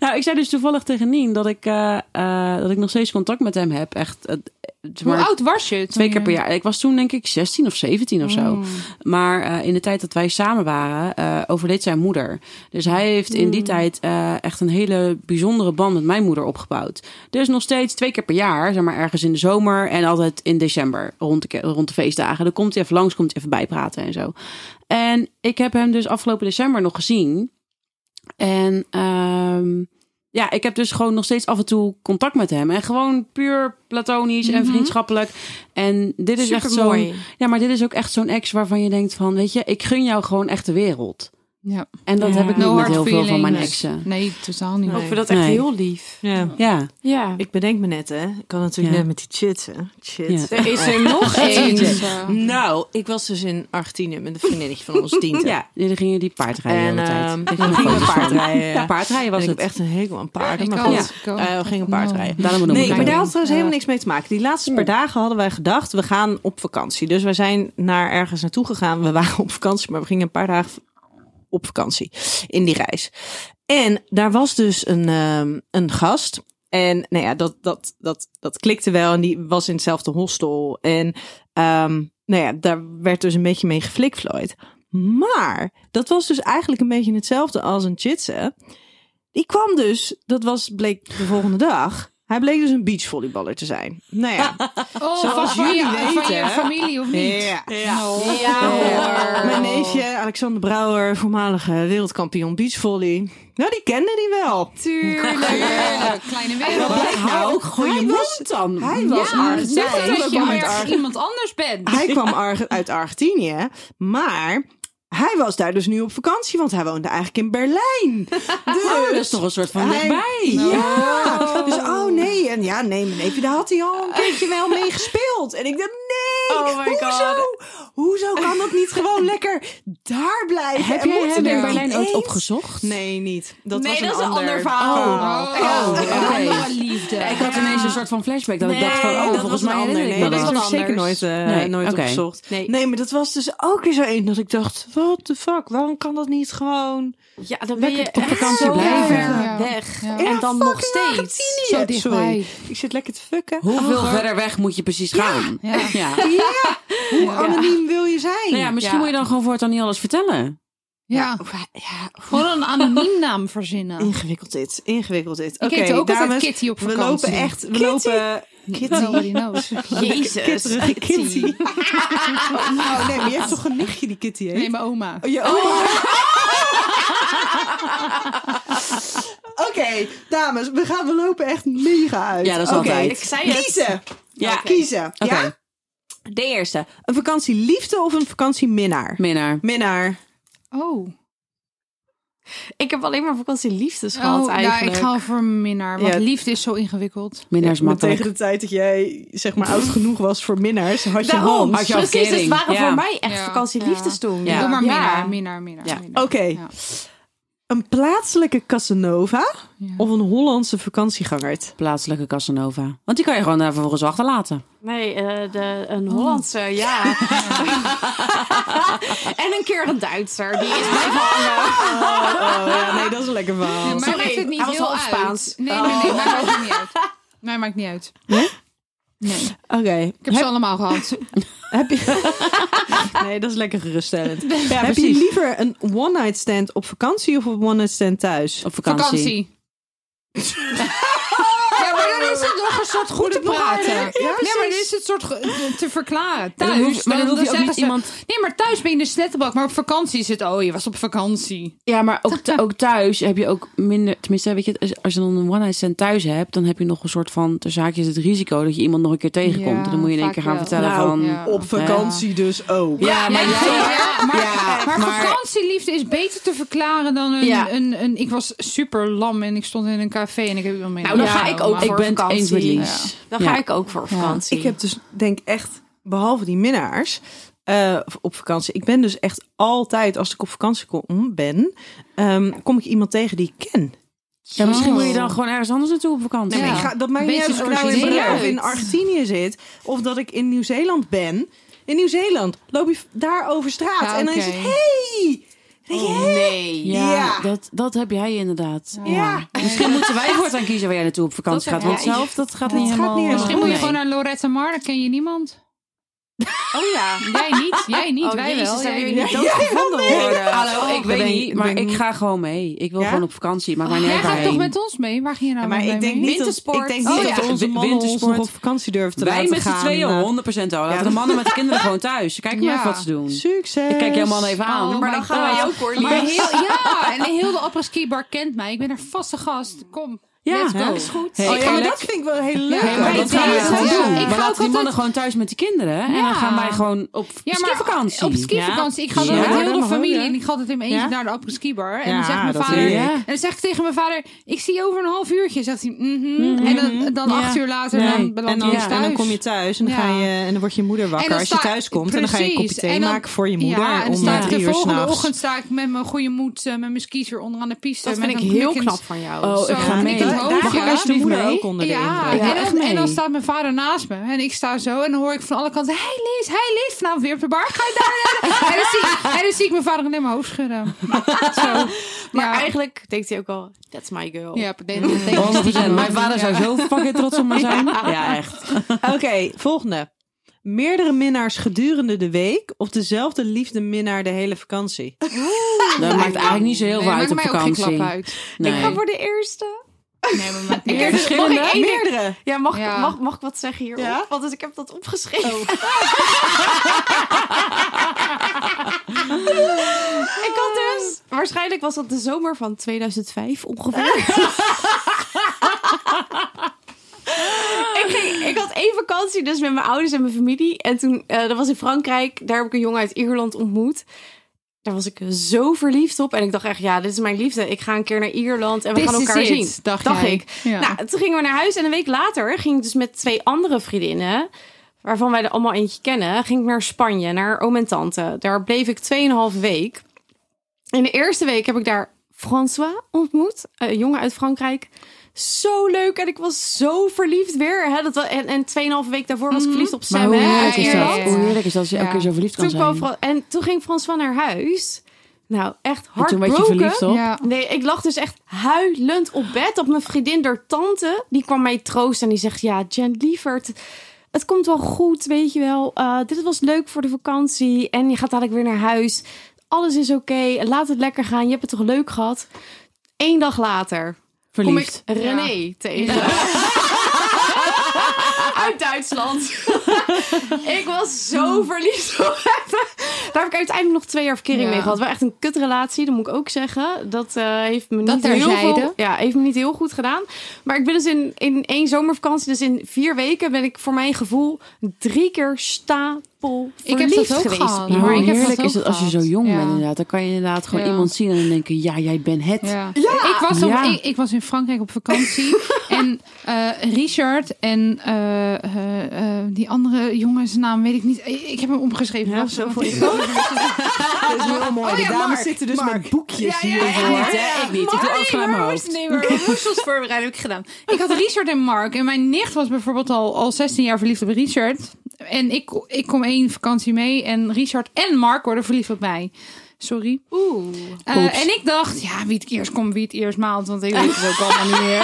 Ja.
ik zei dus toevallig tegen Nien dat ik, eh, eh, dat ik nog steeds contact met hem heb. Echt, eh, zeg
Hoe
maar,
oud was je? toen
Twee
je-
keer per jaar. Ik was toen denk ik 16 of 17 of zo. Maar eh, in de tijd dat wij samen waren, eh, overleed zijn moeder. Dus hij heeft in die tijd eh, echt een hele bijzondere band met mijn moeder opgebouwd. Dus nog steeds twee keer per jaar, zeg maar ergens in de zomer en altijd in december rond de, ke- rond de feestdagen. Dan komt hij even langs, komt hij even bijpraten en zo. En ik heb hem dus afgelopen december nog gezien. En ehm, ja, ik heb dus gewoon nog steeds af en toe contact met hem. En gewoon puur platonisch
Mhm.
en vriendschappelijk. En dit is echt zo'n...
Supermooi.
Ja, maar dit is ook echt zo'n ex waarvan je denkt van... Weet je, ik gun jou gewoon echt de wereld.
Ja.
En dat
Ja.
heb ik
No
niet met
hard
heel veel van mijn eh.
feelings.
exen.
Nee, totaal niet.
Ik
Nee.
vind dat echt
Nee.
heel lief.
Ja.
Ja,
Ja.
Ik bedenk me net, hè. Ik kan natuurlijk
Ja.
net met die chits, hè. Chits.
Er is
<laughs>
er nog één.
eh,
Nou, ik was dus in Argentinië met een vriendinnetje van ons tiende.
ja. jullie gingen die paardrijden de
En
hele
ehm <laughs>
tijd.
we gingen paardrijden. ja.
Ja, paardrijden was
En ik
het.
heb echt een hekel aan paarden,
Ik
maar
ook.
goed.
Ja, ik ook.
Eh, we gingen paardrijden.
Daarom noem
Nee,
ik
maar
het.
daar had trouwens helemaal niks mee te maken. Die laatste paar dagen hadden wij gedacht, we gaan op vakantie. Dus we zijn naar ergens naartoe gegaan. We waren <laughs> op vakantie, maar we gingen een paar dagen op vakantie in die reis. En daar was dus een, ehm, een gast. En nou ja, dat, dat, dat, dat klikte wel. En die was in hetzelfde hostel. En ehm, nou ja, daar werd dus een beetje mee geflikvlooid. Maar dat was dus eigenlijk een beetje hetzelfde als een chitsen. Die kwam dus, dat was, bleek de volgende dag. Hij bleek dus een beachvolleyballer te zijn. Nou
<laughs>
ja.
Oh,
Zoals
van, van,
jullie
je, van
weten,
je
hè?
familie of niet? Oh.
Ja,
Eh, Mijn neefje, Alexander Brouwer, voormalige wereldkampioen beachvolley. Nou, die kende die wel.
Tuurlijk. Kleine wereld.
Oh, Hou Nou, ook gewoon je
Hij was-
mond dan.
Hij was
Ja,
Argentijn.
zeg dat dat je
Hij kwam uit
ergens
Arge-
iemand anders bent.
Hij kwam Arge- uit Argentinië, maar hij was daar dus nu op vakantie, want hij woonde eigenlijk in Berlijn.
Oh,
Dus
dat is toch een soort van
Hij- Nou,
dichtbij.
Ja, dus oh nee. En ja, nee, mijn neefje, daar had hij al een keertje wel mee gespeeld. En ik dacht, nee,
Oh my
hoezo? Hoezo kan dat niet gewoon lekker daar blijven?
Heb
En
jij
moeten
hem
we
in
niet
Berlijn ooit
eens-
opgezocht?
Nee, niet. Dat
Nee,
was een
dat is een
ander,
ander verhaal.
Oh,
Oh,
een
oké.
andere liefde.
Ik had ineens een soort van flashback dat ik
Nee,
dacht van,
dat
oh,
was
volgens
een
mij
ander.
herinner ik
Nee,
me
dat
dat
is
heb
dat.
ik
wat
zeker nooit,
anders.
eh,
Nee,
nooit
oké.
opgezocht.
Nee.
nee, maar dat was dus ook weer zo één dat ik dacht, what the fuck, waarom kan dat niet gewoon...
Ja, dan ben je
op
echt
vakantie
zo
blijven.
ver
Ja.
weg.
Ja.
En dan nog steeds.
Zo
Sorry.
dichtbij.
Ik zit lekker te fucken.
Hoeveel verder weg moet je precies gaan?
Ja.
Oh. Ja.
Ja, hoe anoniem wil je zijn?
Nou ja, misschien
Ja.
moet je dan gewoon voortaan niet alles vertellen.
Ja. Gewoon een anoniem naam verzinnen.
Ingewikkeld dit, ingewikkeld dit.
Oh. Ik
Oké,
heet ook altijd
dames,
Kitty op
we
vakantie.
lopen echt, we lopen
Nobody
Kitty,
<laughs> knows.
Jezus.
kitterige Kitty. <laughs> Oh nee, maar je hebt toch een nichtje die Kitty heet?
Nee, mijn oma.
Oh, je oma. <laughs> Oké, dames, we gaan we lopen echt mega uit.
Ja, dat is
Oké,
altijd.
Ik zei het.
Kiezen,
Ja,
kiezen.
Oké,
Ja? De eerste, een vakantieliefde of een vakantieminnaar?
minnaar.
Minnaar.
Oh.
Ik heb alleen maar vakantieliefdes gehad
Oh, nou, ik
eigenlijk.
ga voor minnaar. Want
Ja.
liefde is zo ingewikkeld.
Minnaar is
Maar
makkelijk.
tegen de tijd dat jij zeg maar oud genoeg was voor minnaars, had je
Daarom.
hand.
Had je al
Precies, dus het
kering.
waren
Ja.
voor mij echt
Ja.
vakantieliefdes
Ja.
toen.
Ja.
Doe maar minnaar,
Ja.
minnaar, minnaar.
Ja.
minnaar.
Oké.
Ja.
Een plaatselijke Casanova
Ja.
of een Hollandse vakantieganger?
<laughs>
Plaatselijke Casanova. Want die kan je gewoon daar vervolgens achterlaten.
Nee, eh, de, een <laughs> Hollandse, ja. en een keer een Duitser. Die is blijven hangen.
ja, Oh, nee, dat is een lekker verhaal.
Nee, maar
Sorry,
maakt het niet
hij was
heel
half
uit.
Spaans.
Nee, nee, nee, maar maakt het niet <laughs> uit. Nee, Oh. maakt niet uit.
Nee?
Nee, ik
Oké.
heb ze allemaal
<laughs>
gehad.
Heb je...
<laughs>
nee, dat is lekker geruststellend. heb
precies.
je liever een one-night stand op vakantie of een one-night stand thuis?
Op vakantie.
Vakantie. <laughs> ja, maar dan is het nog een soort goed te praten. Ja, maar dan is het soort ge- te verklaren.
dan
Thuis,
hoef- maar dan hoef je ook
zeggen
niet
ze,
iemand-
Nee, maar thuis ben je de slettenbak. Maar op vakantie is het, oh, je was op vakantie.
Ja, maar ook, th- ook thuis heb je ook minder... Tenminste, weet je, als- als je dan een one-night stand thuis hebt... dan heb je nog een soort van, ter zaakjes het risico... dat je iemand nog een keer tegenkomt.
Ja,
en dan moet je in één
vaak
keer gaan
wel.
vertellen
Nou,
van...
ja.
Op vakantie dus ook.
<laughs>
Ja, maar
ja,
jij-
Ah, ja, maar,
Ja,
maar
maar-
vakantieliefde is beter te verklaren dan een,
Ja.
een, een... Ik was super lam en ik stond in een café en ik heb iemand mee.
Nou, dan ga ik ook
Ik
voor
ben het
vakantie.
eens met Lies.
Dan ga ik ook voor vakantie.
Ik heb dus, denk echt, behalve die minnaars eh, op vakantie. Ik ben dus echt altijd, als ik op vakantie kom, ben, ehm, kom ik iemand tegen die ik ken.
Ja, misschien
Oh.
moet je dan gewoon ergens anders naartoe op vakantie.
Nee, maar
Ik
Ja.
ga, dat maakt niet
Beetje
uit of ik nou in
origineel.
Berlijn of in
Uit.
Argentinië zit. Of dat ik in Nieuw-Zeeland ben. In Nieuw-Zeeland loop je v- daar over straat.
Ja,
En dan is
oké.
het, hey! Dan denk je, hey!
Nee.
Ja,
Ja.
Dat, dat heb jij inderdaad.
Ja.
Misschien moeten wij voortaan kiezen waar jij naartoe op vakantie
Dat
gaat. Want
heb jij.
zelf, dat gaat
Dat
niet
gaat
helemaal...
niet helemaal
Misschien moet je
Nee.
gewoon naar Loretta Mar, dan ken je niemand.
Oh ja.
Jij niet, jij niet,
Oh,
wij
jezus, daar
wel. jij
wil je
niet.
niet <laughs> doodgevonden worden.
Hallo, ik weet
ben-
niet,
ik
maar
ben-
ik ga gewoon mee. Ik wil
Ja?
gewoon op vakantie, maar wanneer
Jij gaat
waarheen?
toch met ons mee? Waar ging je nou
maar
mee
ik denk,
mee?
niet dat, ik
Wintersport.
denk niet
Oh,
dat
ja.
onze
Win-
mannen ons
wintersport.
nog op vakantie durven te
Wij
laten
met z'n
gaan.
tweeën,
Eh,
100% al. Laten de mannen met de kinderen gewoon thuis. Kijk maar
Ja.
even wat ze doen.
Succes!
Ik kijk jouw man even aan.
Oh,
Maar
my
dan gaan wij
God.
ook hoor,
Maar
Lies.
heel, ja, en heel de apres bar kent mij. Ik ben er vaste gast. Kom.
Ja,
Let's
hè?
go.
dat is
goed.
Hey,
oh, ja, maar
eerlijk.
dat vind ik wel heel leuk.
Ja, maar
maar dat
het
gaan
is-
wij gewoon
ja,
doen.
ik ga ook
We laten die
altijd-
mannen gewoon thuis met die kinderen. En
Ja.
dan gaan wij gewoon op skivakantie.
Op skivakantie. Ik ga dan
Ja,
met heel
dat
de
mag
familie.
ook, hè?
En ik ga altijd in mijn eentje
Ja?
naar de apres skibar. En
Ja,
dan zegt mijn
dat
vader...
weet ik.
En dan zeg ik tegen mijn vader... Ik zie je over een half uurtje. Zegt hij... mhm. En dan, dan
Ja.
acht uur later
Nee.
dan
En
beland
dan,
hij thuis.
en dan kom je thuis en dan,
Ja.
ga je, en dan wordt je moeder wakker
dan
als je
sta-
thuis komt. En dan ga je een kopje
Precies.
thee
En dan-
maken voor je moeder
Ja, en dan
om
sta
eh,
ik
drie
de
uur
volgende
s'nachts.
ochtend sta ik met mijn goede moed, eh, met mijn skiezer onder aan de piste.
Dat
met
vind ik
een
heel
knikkend-
knap van jou.
Oh,
Zo,
ik ga
en
mee.
ik het hoofdje.
Daar ga ik
Daar
alsjeblieft
moeder
mee.
ook onder de
Ja,
indruk. Ja,
en,
echt
dan,
mee.
en dan staat mijn vader naast me. En ik sta zo en dan hoor ik van alle kanten... Hé hey Lies, hey Lies, vanavond weer op de bar. Ga je daar naartoe?" <laughs> en, dan zie, ik- en dan zie ik mijn vader alleen mijn hoofd schudden. <laughs> Zo.
Maar
ja.
eigenlijk denkt hij ook al, that's my girl.
Ja, dat denk ik- dat denk ik stiekem
100%. Mijn
wel.
vader
Ja.
zou zo fucking trots op me zijn. Ja, echt.
Oké, <laughs> volgende. Meerdere minnaars gedurende de week of dezelfde liefde minnaar de hele vakantie?
Dat maakt eigenlijk niet zo heel
Nee,
veel uit
maakt
op
mij ook geen klap
vakantie.
uit.
Nee.
Ik ga voor de eerste.
Nee, maar maakt niet
Ik heb-
uit.
verschillende?
Mag ik, één ding-
Meerdere.
ja, mag,
Ja.
Mag, mag ik wat zeggen hierop?
Ja?
Want dus ik heb dat opgeschreven. <laughs> ik had dus... Waarschijnlijk was dat de zomer van 2005 ongeveer. <laughs> ik, ging, ik had één vakantie dus met mijn ouders en mijn familie. En toen, eh, dat was in Frankrijk. Daar heb ik een jongen uit Ierland ontmoet. Daar was ik zo verliefd op. En ik dacht echt, ja, dit is mijn liefde. Ik ga een keer naar Ierland en we
This
gaan
is
elkaar
it,
zien.
dacht jij.
ik.
Ja.
Nou, toen gingen we naar huis. En een week later ging ik dus met twee andere vriendinnen... waarvan wij er allemaal eentje kennen... ging ik naar Spanje, naar oom en tante. Daar bleef ik 2,5 week. In de eerste week heb ik daar François ontmoet, eh, een jongen uit Frankrijk. Zo leuk en ik was zo verliefd weer. Hè? Dat, wa- en en tweeënhalve week daarvoor was ik verliefd op
Mhm. Maar
Sam.
hoe
hè,
heerlijk
in
is
Ja,
dat?
Ierland.
ja.
Hoe heerlijk is dat als je elke
Ja.
keer zo verliefd kan
Toen kwam
zijn?
Fran- en toen ging François naar huis. Nou, echt
En toen werd je
heartbroken.
verliefd op?
Ja.
Nee, ik lag dus echt huilend op bed op mijn vriendin, door tante. Die kwam mij troosten en die zegt: Ja, Jen, lieverd, het komt wel goed, weet je wel. Eh, dit was leuk voor de vakantie en je gaat dadelijk weer naar huis. Alles is oké, laat het lekker gaan. Je hebt het toch leuk gehad? Eén dag later
Verliefd.
kom ik René tegen. <laughs> uit Duitsland. <laughs> ik was
Hmm.
zo verliefd op hem. Daar heb ik uiteindelijk nog twee jaar verkering
Ja.
mee gehad. Wel echt een kutrelatie, dat moet ik ook zeggen. Dat eh, heeft me niet
Dat
heel
terzijde.
veel, ja, heeft me niet heel goed gedaan. Maar ik ben dus in, in één zomervakantie, dus in vier weken, ben ik voor mijn gevoel drie keer stapel
Ik heb dat
verliefd
ook
geweest.
gehad. Oh,
Ja,
Maar
hoe
ik heb dat
heerlijk
ook
is het als je zo
gehad.
jong
Ja.
bent inderdaad. Dan kan je inderdaad gewoon
Ja.
iemand zien en dan denken, ja, jij bent het.
Ja. Ik, was op,
Ja.
ik, ik was in Frankrijk op
<laughs>
vakantie. en eh, Richard en eh, eh, eh, die andere jongen, zijn naam weet ik niet. Ik, ik heb hem opgeschreven.
Ja,
Wacht,
zo
want
voor
ik-
je.
<laughs>
Dat is heel mooi.
Oh ja,
de dames
Mark,
zitten dus
Mark.
met boekjes
Ja, ja,
hier.
ja,
Ik
voor.
niet, hè? Ik niet. Ik doe alles vanuit mijn
Oh, maar
hoofd.
Nee,
<laughs>
maar woensdags voorbereid heb ik gedaan. Ik had Richard en Mark. En mijn nicht was bijvoorbeeld al, al 16 jaar verliefd op Richard. En ik, ik kom één vakantie mee. En Richard en Mark worden verliefd op mij. Sorry.
Oeh.
Eh,
Oeps.
en ik dacht, ja, wie het eerst komt, wie het eerst maalt. Want ik weet het ook allemaal niet meer.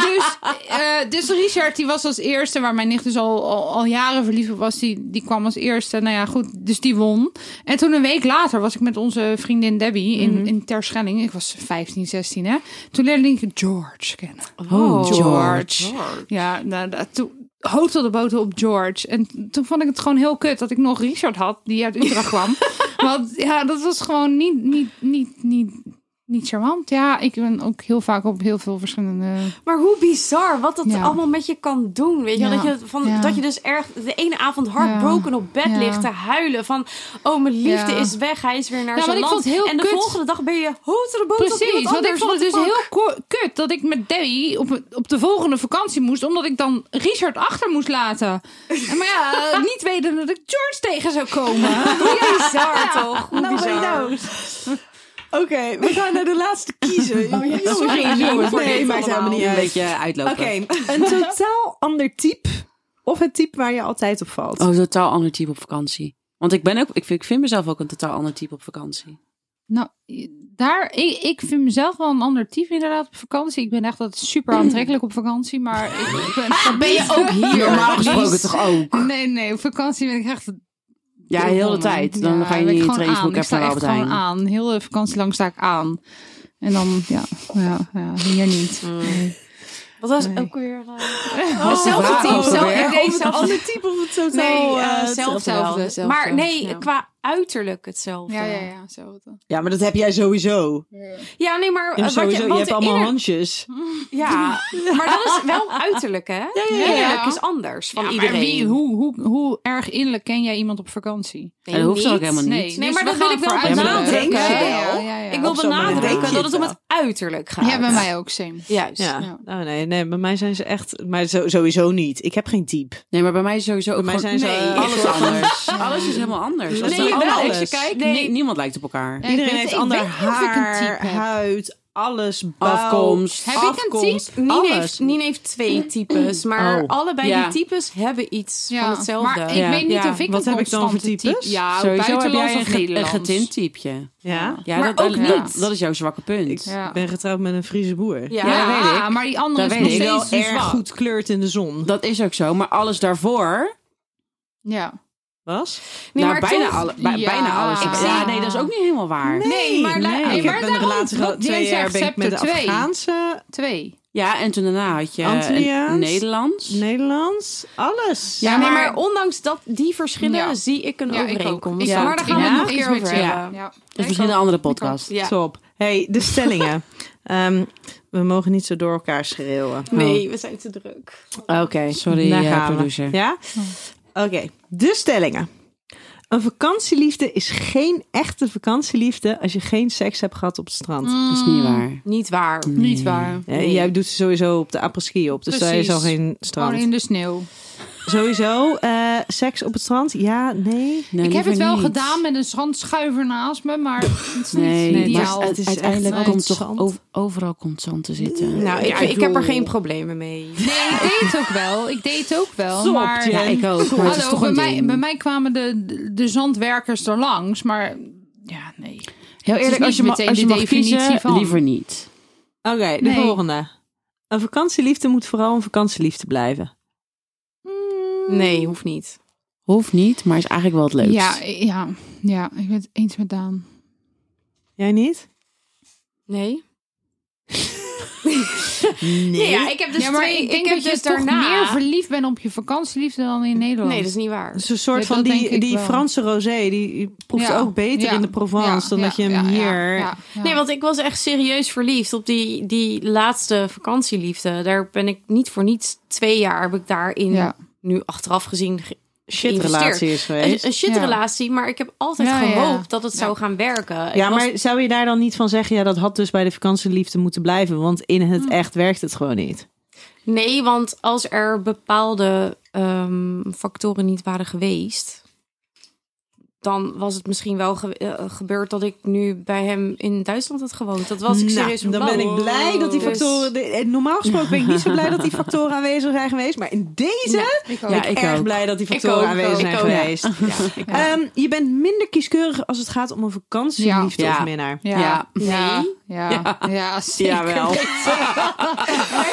Dus, eh, dus Richard, die was als eerste, waar mijn nicht dus al, al, al jaren verliefd op was, die, die kwam als eerste. Nou ja, goed, dus die won. En toen een week later was ik met onze vriendin Debbie in, in Terschelling. Ik was 15, 16 hè. Toen leerde ik George kennen.
Oh, George.
Ja, nou, dat, toen hoopte de boter op George. En toen vond ik het gewoon heel kut dat ik nog Richard had, die uit
<laughs>
Utrecht kwam. Want ja, dat was gewoon niet, niet, niet, niet, niet charmant. Ja, ik ben ook heel vaak op heel veel verschillende...
Maar hoe bizar wat dat
Ja.
allemaal met je kan doen. Weet je? wel?
Ja.
Dat, je van,
Ja.
dat je dus erg de ene avond heartbroken op bed
Ja.
ligt te huilen. Van, oh mijn liefde
Ja.
is weg. Hij is weer naar
Ja,
zijn
want ik
land.
vond het heel
en de
kut.
volgende dag ben je hotere boot op iemand
Precies, want ik
anders.
vond het dus
What the
heel
fuck?
ko- kut dat ik met Debbie op, op de volgende vakantie moest. Omdat ik dan Richard achter moest laten. En maar ja,
<laughs>
eh, niet weten dat ik George tegen zou komen. Nou,
Hoe bizar toch? Hoe bizar.
Nou, <laughs> Oké, we gaan naar de laatste kiezen.
Sorry, jongens, voor
Nee,
dit
maakt helemaal
allemaal.
niet
Een
uit.
beetje uitlopen.
Oké, <laughs> een totaal ander type. Of het type waar je altijd op valt.
Oh, totaal ander type op vakantie. Want ik ben ook, ik vind, ik vind mezelf ook een totaal ander type op vakantie.
Nou, daar, ik, ik vind mezelf wel een ander type inderdaad op vakantie. Ik ben echt altijd super aantrekkelijk op vakantie, maar ik,
<laughs>
ik
Ah,
ben, ben je ook hier
Normaal gesproken toch ook?
<laughs> Nee, nee, op vakantie ben ik echt...
Ja, heel
domme.
de tijd. Dan
Ja,
ga je
ben ik
niet in
gewoon aan.
trainingsbroek
Ik
even
sta
naar
echt
Albert
gewoon
Heijn.
aan. Heel de vakantie lang sta ik aan. En dan, ja, ja, ja hier niet.
Mm.
Wat was
Nee. Oh.
ook weer... eh,
Hetzelfde
type,
type.
zelf- ik deed
Of het
zelf-
ander type of het totaal...
Nee,
eh,
eh,
hetzelfde.
zelfde. Maar nee,
ja.
qua uiterlijk hetzelfde.
Ja, ja, ja. Hetzelfde.
Ja, maar dat heb jij sowieso.
Ja, nee, maar... eh,
Ja,
wat
sowieso. Je,
want
hebt
de
allemaal
inner-
handjes.
<laughs> Ja, maar dat is wel uiterlijk, hè? Ja,
ja, ja.
Innerlijk is anders van
Ja,
iedereen.
Maar wie, hoe, hoe, hoe erg innerlijk ken jij iemand op vakantie?
Nee,
En dat hoeft ook
niet.
helemaal niet.
Nee,
Nee,
dus
maar dat
we gaan
wil ik wel
voor uiterlijk.
benadrukken.
Ja,
Denk je
ja,
wel?
ja, ja.
Ik wil
Op zo'n manier denk
benadrukken
je
dat het om
het
het uiterlijk gaat.
Ja, bij mij ook, same.
Juist.
Ja.
Ja.
Oh nee, nee, bij mij zijn ze echt... Maar zo- sowieso niet. Ik heb geen type.
Nee, maar bij mij is sowieso ook
Bij mij
gewoon-
zijn ze...
nee,
eh,
<laughs> alles anders. alles is helemaal anders. Als
Nee,
je
wel.
allemaal
Als je
alles-
kijkt,
Nee,
nee.
niemand lijkt op elkaar.
Ja, ik
Iedereen
weet-
heeft
ik
ander
weet niet of ik een
haar,
type heb.
huid, alles, bouw,
Afkomst.
Heb ik een
afkomst,
type?
Nien
alles.
heeft, Nien heeft twee types, maar
Oh.
allebei
Ja.
die types hebben iets
Ja,
van hetzelfde.
Maar ik
Ja.
weet niet
Ja.
of ik
Wat
een
heb ik dan voor
constante
types?
type- Ja,
Sowieso heb
buitenlands
jij
of
een, ge- een
Nederlands.
getint typeje.
Ja.
Ja,
Maar
dat,
ook
dat-
niet.
Dat is jouw zwakke punt.
Ik
Ja.
ben getrouwd met een Friese boer.
ja,
Ja, weet ik.
maar die andere
Dat
is dus
weet
nog
Die
ik.
steeds
wel
te
erg
zwak.
goed kleurt in de zon.
Dat is ook zo. Maar alles daarvoor...
Ja.
Was?
Nee,
nou,
maar
bijna,
toch-
alle, bij-
Ja.
bijna alles.
Ik
ja,
zie-
nee, dat is ook niet helemaal waar.
Nee, maar, la- nee,
ik
maar
heb een
daarom,
relatie gehad.
wat
Twee
Jen
jaar
zegt,
ben ik met
scepter
de
twee.
Afghaanse,
Twee.
Ja, en toen daarna had je eh, een
Antilliaans?
Nederlands.
Nederlands, alles.
Ja, nee,
maar-
maar ondanks dat, die verschillen
Ja.
zie ik een
Ja, ik ook.
overeenkomst.
Ik
Ja.
ook.
Maar daar gaan we het
Ja.
nog een keer
Eens met
over
je.
hebben.
Ja.
Dat is misschien een andere podcast.
Ja.
Top. hey, de stellingen. <laughs> Ehm, we mogen niet zo door elkaar schreeuwen.
Nee, we zijn te druk.
Oké,
Sorry,
daar
eh,
gaan we.
producer.
Ja?
Oh.
Oké, de stellingen. Een vakantieliefde is geen echte vakantieliefde als je geen seks hebt gehad op het strand.
Mm.
Dat is niet waar.
Niet waar.
Niet waar.
Ja, Jij doet ze sowieso op de apres-ski op, dus daar is
Precies.
al geen strand.
Gewoon in de sneeuw.
Sowieso, eh, seks op het strand, ja, nee.
Nee,
ik heb het
liever
wel
niet.
gedaan met een zandschuiver naast me, maar het is niet
Nee, maar
ideaal.
het is echt
Uiteindelijk
nooit
komt toch
zand.
ov- overal komt zand te zitten.
Nou, ik,
Ja,
ik heb
joh.
er geen problemen mee.
Nee, ik deed het ook wel. Ik deed het ook wel,
Stop,
Oh, maar...
Jen.
Ja, ik ook. Maar het is
Hallo,
toch
bij
een
mij,
ding.
bij mij kwamen de, de, de zandwerkers er langs, maar ja, nee.
Heel
Het is
eerlijk, als je,
niet
ma-
meteen
als je
de
mag
definitie
kiezen,
van.
liever niet.
Oké, de
Nee.
volgende. Een vakantieliefde moet vooral een vakantieliefde blijven.
Nee, hoeft niet.
Hoeft niet, maar is eigenlijk wel het leukst.
Ja, ja, ja, ik ben het eens met Daan.
Jij niet?
Nee.
Nee.
Nee, ja, ik heb dus
ja, maar
twee.
ik denk
heb
dat je
dus
toch
daarna...
meer verliefd bent op je vakantieliefde dan in Nederland.
Nee,
dus
dat is niet waar.
Het is een soort
Ja,
van
dat denk
die,
ik
die
wel.
Franse rosé, die die proeft
Ja,
ook beter
ja,
in de Provence
ja,
dan
ja,
dat je hem
ja, ja,
hier...
ja, ja.
Nee, want ik was echt serieus verliefd op die, die laatste vakantieliefde. Daar ben ik niet voor niets twee jaar heb ik daarin
Ja.
nu achteraf gezien ge-
Shitrelatie is
een,
geweest.
een shitrelatie, maar ik heb altijd
Ja, ja.
gehoopt dat het
Ja.
zou gaan werken. Ik
Ja,
was-
maar zou je daar dan niet van zeggen, ja, dat had dus bij de vakantieliefde moeten blijven, want in het echt werkt het gewoon niet.
Nee, want als er bepaalde ehm, factoren niet waren geweest, dan was het misschien wel ge- eh, gebeurd dat ik nu bij hem in Duitsland had gewoond. Dat was ik
Nou,
serieus van
dan ben
plan.
ik blij dat die
Dus-
factoren... de- eh, normaal gesproken ben ik niet zo blij <laughs> dat die factoren aanwezig zijn geweest, maar in deze
ik ook.
Ja,
ben ik,
ik
erg
ook.
blij dat die
Ik
factoren
ook,
aanwezig
ik
zijn
ook.
geweest. <laughs> Ehm, je bent minder kieskeurig als het gaat om een vakantieliefde
Ja.
of
Ja.
minnaar.
Ja,
Ja.
ja, ja,
Nee.
ja, zeker. <laughs>
Jawel.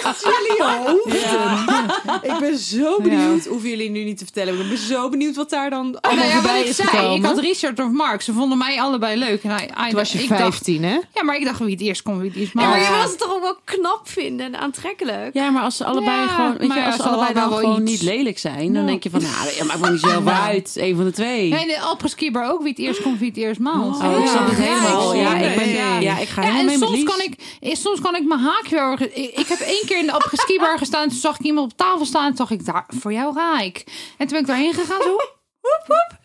Echt jullie hoofden. Ik ben zo benieuwd. Hoeven jullie nu niet te vertellen. Ik ben zo benieuwd wat daar dan allemaal
Nou ja, wat
voorbij
ik
is
zei,
gekomen.
ik had Richard of Mark. Ze vonden mij allebei leuk. En hij, hij-
Toen was je
ik dacht,
15, hè?
ja, maar ik dacht wie het eerst kon, wie het eerst
Ja, maar
maar.
je wil ze toch ook wel knap vinden en aantrekkelijk?
Ja, maar als ze allebei
Ja,
gewoon, weet
maar
je, als
als
ze
ze
allebei dan
allebei wel
gewoon
iets-
niet lelijk zijn, dan denk je van, nou, ja, maakt me niet zelf uit. Een van de twee.
Nee, de Alperskibber ook wie het eerst kon, wie het eerst maalt.
Oh, ik snap het
Ja,
helemaal.
ik
Ja,
snap
ik
het.
ben,
Ja.
ja, ik ga
Ja,
helemaal
en
mee met
soms
Lies.
kan, ik, eh, soms kan ik mijn haakje wel... ergens- Ik, ik heb één keer in de
<laughs>
apres-ski-bar gestaan. Toen zag ik iemand op tafel staan. Toen dacht ik, daar, voor jou ga ik. En toen ben ik daarheen gegaan. Zo, hoep,
<laughs>
hoep, hoep.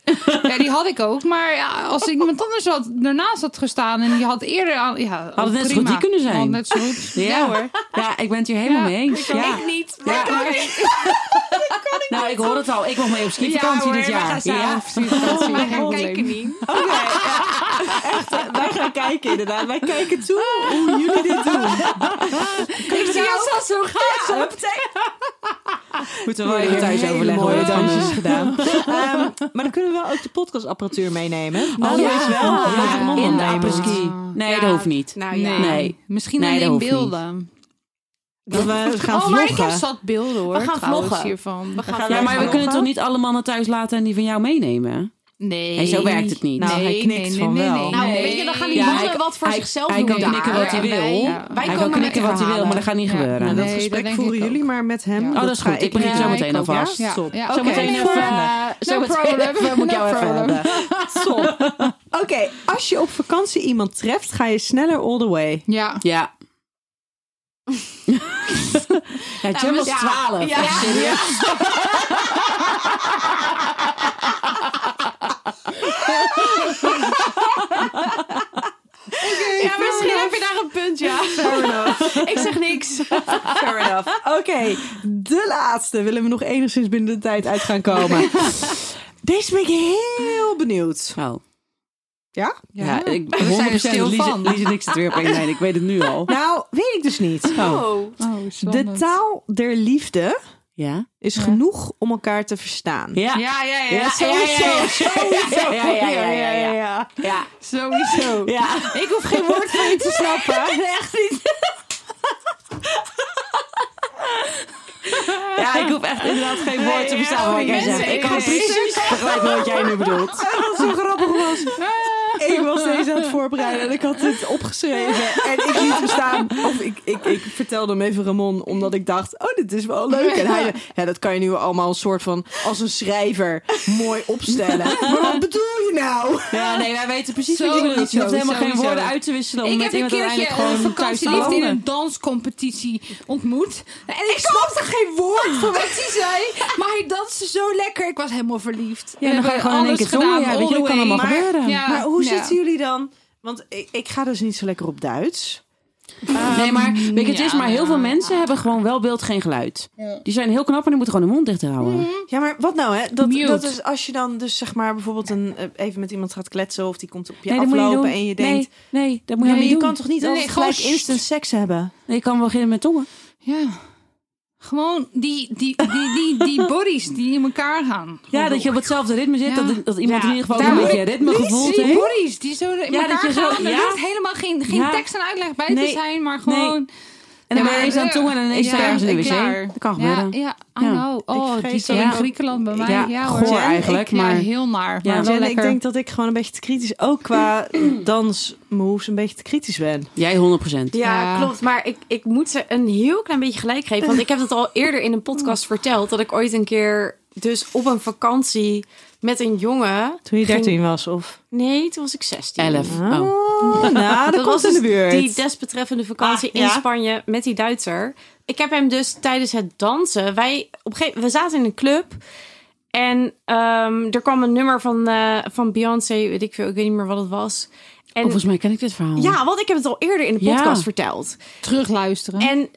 Ja, die had ik ook. Maar ja, als ik iemand anders had, daarnaast had gestaan... en die had eerder... Aan, ja,
Had het net zo
prima.
goed die kunnen zijn.
Had net zo goed.
<laughs> Ja, hoor. Ja, ik ben het hier helemaal mee eens. Ja.
Ik niet. Maar
Ja,
ik
maar-
ook niet.
Nou, <laughs> ik hoor het al. Ik mag mee op skivakantie
Ja,
dit
hoor, we
jaar.
gaan samen
Ja.
op Wij gaan kijken niet.
Oké, ja. Echt, hè? wij gaan kijken inderdaad. Wij kijken toe hoe jullie dit doen.
Ik zie jou al zo gaaf.
Moeten we wel
even thuis overleggen,
Mooie
hoor.
dansjes gedaan.
<laughs>
Ehm, maar dan kunnen we wel ook de podcastapparatuur meenemen. Nou,
ja.
dat is wel.
Ja,
Dat kan allemaal
in de
meenemen.
apres-ski. Nee, dat hoeft niet.
Nou ja.
Nee.
Nee.
Misschien
Nee, dat
alleen
hoeft niet.
beelden.
Dat we gaan
oh, maar ik heb
vloggen.
zat beelden hoor.
gaan
trouwens,
vloggen.
hiervan.
We gaan
gaan
weer
Ja, maar we
gewoon-
kunnen toch niet alle mannen thuis laten en die van jou meenemen?
Nee.
En zo werkt het niet.
Nou, hij knikt van wel.
Nou, weet je, dan gaan die
Ja,
mannen
hij-
wat voor
hij-
zichzelf
hij
doen
kan
daar.
knikken wat hij
En
wil.
wij-
Ja.
Wij
Hij kan
komen
knikken
met
wat hij wil, maar dat gaat
Ja.
niet gebeuren.
Nou,
dat
Nee, dat
gesprek
denk
voeren
ik ook.
jullie maar met hem.
Ja. Oh,
dat is goed. Ik begin
zo
ja,
meteen
ik ook,
alvast.
Ja? Stop.
Ja,
Zo
oké.
meteen even,
Voor-
eh, zo
no
meteen <laughs>
problem.
even, moet ik
No
jou even
problem.
hebben.
<laughs>
Stop.
<laughs> Oké, als je op vakantie iemand treft, ga je sneller all the way.
Ja.
Ja. ja, Jam was
ja.
12.
Ja.
Echt serieus?
Ja, misschien heb je daar een punt, ja. <laughs> Ik zeg niks.
Fair enough.
<laughs>
Oké, de laatste. Willen we nog enigszins binnen de tijd uit gaan komen?
<laughs>
Deze ben ik heel benieuwd.
Oh.
Ja?
Ja,
Ja.
ik
We zijn er
100%
stil
Lize,
van.
Lize niks het weer op één lijn. Ik weet het nu al.
Nou, weet ik dus niet.
Oh.
Oh,
De taal der liefde
Ja?
is genoeg om elkaar te verstaan.
Ja.
Ja, ja, ja.
Ja,
sowieso.
Ja, ja, ja, ja, ja, ja. Ja.
Sowieso.
Ja.
<laughs> Ik hoef geen woord van je te
<laughs>
snappen.
Echt niet. Ja, ik hoef echt inderdaad geen woord te verstaan wat jij
mensen,
zegt. Ik kan
nee.
precies <laughs> begrijpen wat jij nu <laughs> bedoelt.
Wat zo grappig was. Ik was deze aan het voorbereiden en ik had dit opgeschreven. En ik liet hem staan. Of ik, ik, ik vertelde hem even Ramon, omdat ik dacht: oh, dit is wel leuk. En hij zei: ja, dat kan je nu allemaal een soort van als een schrijver mooi
<laughs>
opstellen. Maar wat bedoel je nou?
Ja, nee, wij weten precies
wat je bedoelt. Je hoeft helemaal geen woorden
uit te wisselen.
Ik heb een keertje een vakantieliefde in een danscompetitie ontmoet. En ik, snapte geen woord van wat
<laughs>
hij zei. Maar hij danste zo lekker. Ik was helemaal verliefd.
Ja, dan ga je gewoon in één keer door. Ja, weet je, dat kan allemaal gebeuren.
maar hoe
zit
zitten jullie dan? Want ik, ik ga dus niet zo lekker op Duits.
Nee, maar weet je, het
ja,
is maar heel
ja.
veel mensen hebben gewoon wel beeld, geen geluid. Die zijn heel knap, maar die moeten gewoon hun mond dicht houden.
Ja, maar wat nou, hè? Dat,
Mute.
dat is als je dan dus zeg maar bijvoorbeeld een, eh, even met iemand gaat kletsen of die komt op je
Nee, dat moet je
aflopen
doen.
en je denkt...
Nee, nee dat moet
Ja,
je
maar
niet
je
doen.
kan toch niet
Nee,
altijd
nee,
gelijk
gewoon
instant seks hebben?
Nee, je kan wel beginnen met tongen.
Ja. Gewoon die, die, die, die, die bodies die in elkaar gaan.
Ja, dat je op hetzelfde ritme zit.
Oh, Ja.
Dat, dat iemand
Ja.
in ieder geval
Daar-
ook een beetje ritme gevoeld
die
heeft.
bodies die zo in
Ja,
elkaar
dat je zo-
gaan. Er
ja.
hoeft helemaal geen, geen
Ja.
tekst en uitleg bij
Nee.
te zijn, maar
Nee.
gewoon...
En dan ben je
Ja,
eens aan
eh,
tongen en ineens
ja,
sta je ergens in de
en klaar.
wc. Dat kan gebeuren.
Ja, ja, I
Ja.
know. Oh, die
vrees
zat
dat
in
ik ook-
Griekenland bij mij.
Ja,
Ja, hoor.
goor eigenlijk,
Ja,
maar-
heel naar. Maar
Ja.
wel
Jen, ik
lekker.
denk dat ik gewoon een beetje te kritisch, ook qua dansmoves, een beetje te kritisch ben.
Jij 100%.
Ja,
Ja.
klopt. Maar ik, ik moet ze een heel klein beetje gelijk geven. Want ik heb het al eerder in een
Oh.
podcast verteld. Dat ik ooit een keer dus op een vakantie met een jongen...
Toen je
ging-
13 was, of?
Nee, toen was ik 16.
11. Oh.
Oh, nou, dat,
was
komt in de
dus
buurt.
Die desbetreffende vakantie
Ah, ja.
in Spanje met die Duitser. Ik heb hem dus tijdens het dansen. Wij op een gegeven, we zaten in een club. En ehm, er kwam een nummer van, eh, van Beyoncé. Weet ik veel, ik weet niet meer wat het was. En
Volgens mij ken ik dit verhaal.
ja, want ik heb het al eerder in de
Ja.
podcast verteld.
Terugluisteren.
En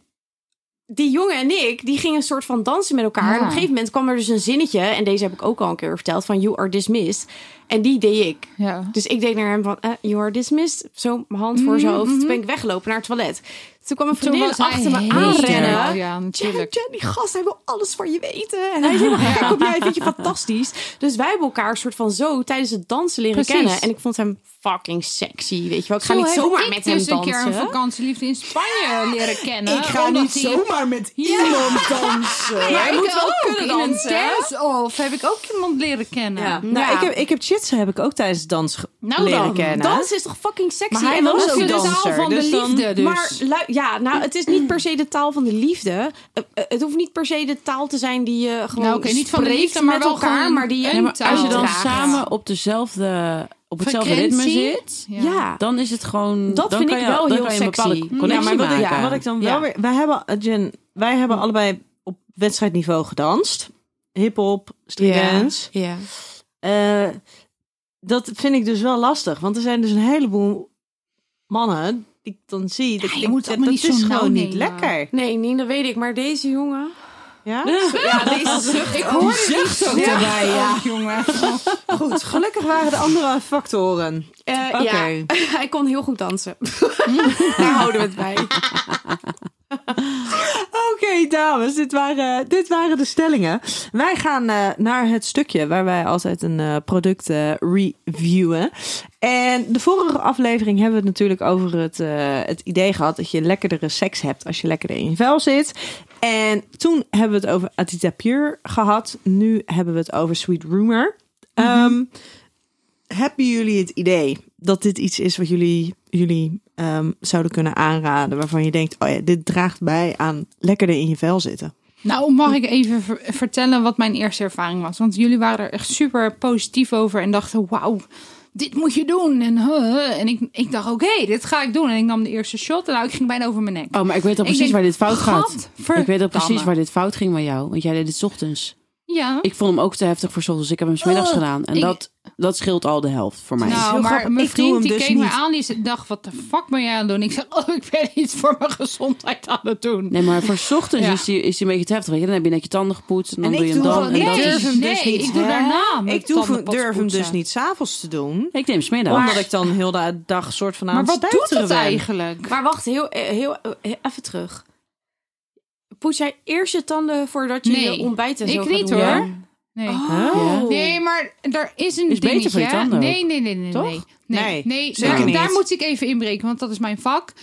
die jongen en ik, die gingen een soort van dansen met elkaar.
Ja.
En op een gegeven moment kwam er dus een zinnetje. En deze heb ik ook al een keer verteld. Van you are dismissed. En die deed ik.
ja.
Dus ik deed naar hem van, eh, you are dismissed. Zo, mijn hand voor zijn hoofd. Toen ben ik weggelopen naar het toilet. Toen kwam een
Mhm. Toen
vriendin
was hij
achter me
helemaal-
aanrennen.
Ja,
Jen,
natuurlijk.
Jen, die gast, hij wil alles van je weten. En hij is helemaal gek op jij, vind je
<laughs>
fantastisch. Dus wij hebben elkaar soort van zo tijdens het dansen leren
Precies.
kennen. En ik vond hem fucking sexy, weet je wel. Ik ga niet
heb
zomaar
ik
met hem
dus
dansen. Ah,
een keer een vakantieliefde in Spanje leren kennen.
ik ga
omdat
niet
die-
zomaar met iemand dansen.
Ja,
Jij
ik
moet wel
ook.
kunnen
In een
dansen.
dance-off heb ik ook iemand leren kennen.
Ja.
Nou,
Ja.
ik heb, ik heb chitsen heb ik ook tijdens dans ge-
Nou
leren
dan,
kennen.
Oh, Dans is toch fucking sexy?
Maar hij
En dan
was
moet
ook
je dus
danser,
taal van
dus
de
dan-
liefde.
dus.
Maar lu- ja, nou, het is niet per se de taal van de liefde. Eh, eh, het hoeft niet per se de taal te zijn die je gewoon
Nou, oké, niet van de
spreekt
liefde, maar
met
wel
elkaar,
gewoon
maar die je
een
maar als je dan
Uitdraagt.
samen op dezelfde, op hetzelfde ritme
Frequentie.
zit,
ja.
dan is het gewoon.
Dat
dan
vind
kan
ik
je,
wel
dan
heel
kan je een bepaalde
sexy.
Connectie
ja, maar wat, ik-
maken.
wat ik dan wel
Ja.
weer... Wij hebben, eh, Jen, wij hebben allebei op wedstrijdniveau gedanst. Hip-hop, streetdance.
Ja.
Eh, dat vind ik dus wel lastig. Want er zijn dus een heleboel mannen die ik dan zie. Dat ik
Ja, je
denk,
moet
ja,
allemaal
dat
niet
is
zo nauw
gewoon niet
nemen.
lekker.
Nee, nee, dat weet ik. Maar deze jongen...
Ja?
Ja, deze zucht.
Ik hoor het niet zo
Ja.
erbij, ja. jongen.
Goed, gelukkig waren de andere factoren.
Eh,
Oké.
Ja, <laughs> hij kon heel goed dansen. Daar houden we het bij.
Oké, dames, dit waren, dit waren de stellingen. Wij gaan eh, naar het stukje waar wij altijd een eh, product eh, reviewen. En de vorige aflevering hebben we het natuurlijk over het, eh, het idee gehad dat je lekkerdere seks hebt als je lekkerder in je vel zit. En toen hebben we het over Atita Pure gehad. Nu hebben we het over Sweet Rumor. Ehm, hebben jullie het idee dat dit iets is wat jullie, jullie ehm, zouden kunnen aanraden? Waarvan je denkt, oh ja, dit draagt bij aan lekkerder in je vel zitten.
Nou, mag ik even ver- vertellen wat mijn eerste ervaring was? Want jullie waren er echt super positief over en dachten: wauw, dit moet je doen. En, huh. en ik, ik dacht: oké, dit ga ik doen. En ik nam de eerste shot en nou, ik ging bijna over mijn nek.
Oh, maar ik weet
Ik
al precies
denk,
waar dit fout gaat.
gadverdamme.
Ik weet al precies waar dit fout ging bij jou. Want jij deed het 's ochtends.
Ja.
Ik vond hem ook te heftig voor 's ochtends. Ik heb hem 's middags gedaan. En
ik-
dat, dat scheelt al de helft voor mij.
is
nou,
heel
maar
grappig.
mijn
Ik doe
vriend
hem
die
dus
keek me
niet.
aan, die dacht: wat de fuck ben jij aan het doen? Ik zei: oh, ik ben iets voor mijn gezondheid aan het doen.
Nee, maar voor 's ochtends
Ja.
is die, is die een beetje te heftig. weet je. Dan heb je net je tanden gepoetst. En dan
En
doe
ik
je hem
doe
dan.
gewoon-
en
nee,
dan.
durf hem dus
nee,
niet,
ik doe
hè?
daarna. mijn
ik doe,
tanden
durf hem dus
poetsen.
niet s'avonds te doen.
Ik neem 's middags.
Omdat ik dan heel de dag soort van aan
Maar wat
het
doet
stuiteren
het
ben.
eigenlijk?
Maar wacht, heel, eh, heel, eh, he- even terug. Poets jij eerst je tanden voordat je
Nee,
je ontbijt en zo
ik
gaat
niet,
doen?
hoor.
Ja?
Nee.
Oh.
Nee, maar er is een
Is beter
dingetje.
voor je
hè?
tanden ook.
nee, nee, nee, nee,
Toch?
nee. Nee,
Nee,
nee,
zeker
daar,
niet.
daar moet ik even inbreken, want dat is mijn vak.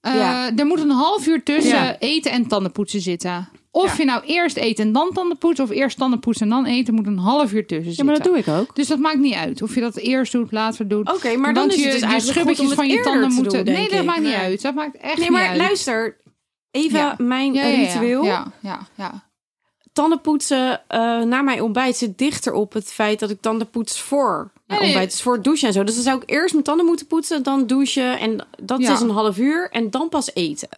Eh,
Ja.
Er moet een half uur tussen
Ja.
eten en tandenpoetsen zitten. Of
Ja.
je nou eerst eten en dan tandenpoetsen, of eerst tandenpoetsen en dan eten, moet een half uur tussen
Ja,
zitten.
maar dat doe ik ook.
Dus dat maakt niet uit of je dat eerst doet, later doet.
Oké, maar dan
Want
is
je,
het dus
je
eigenlijk goed
schubbetjes
om het
van je
eerder
tanden
te
moeten.
doen, denk
nee, dat
ik.
maakt niet
Nee.
uit. Dat maakt echt
Nee,
niet
maar
uit.
luister. Even
Ja.
mijn
Ja, ja, ja.
ritueel.
Ja, ja, ja.
Tandenpoetsen eh, na mijn ontbijt zit dichter op het feit dat ik tanden poets voor mijn
nee.
ontbijt. Dus voor het douchen en zo. Dus dan zou ik eerst mijn tanden moeten poetsen, dan douchen. En dat
Ja.
is een half uur. En dan pas eten.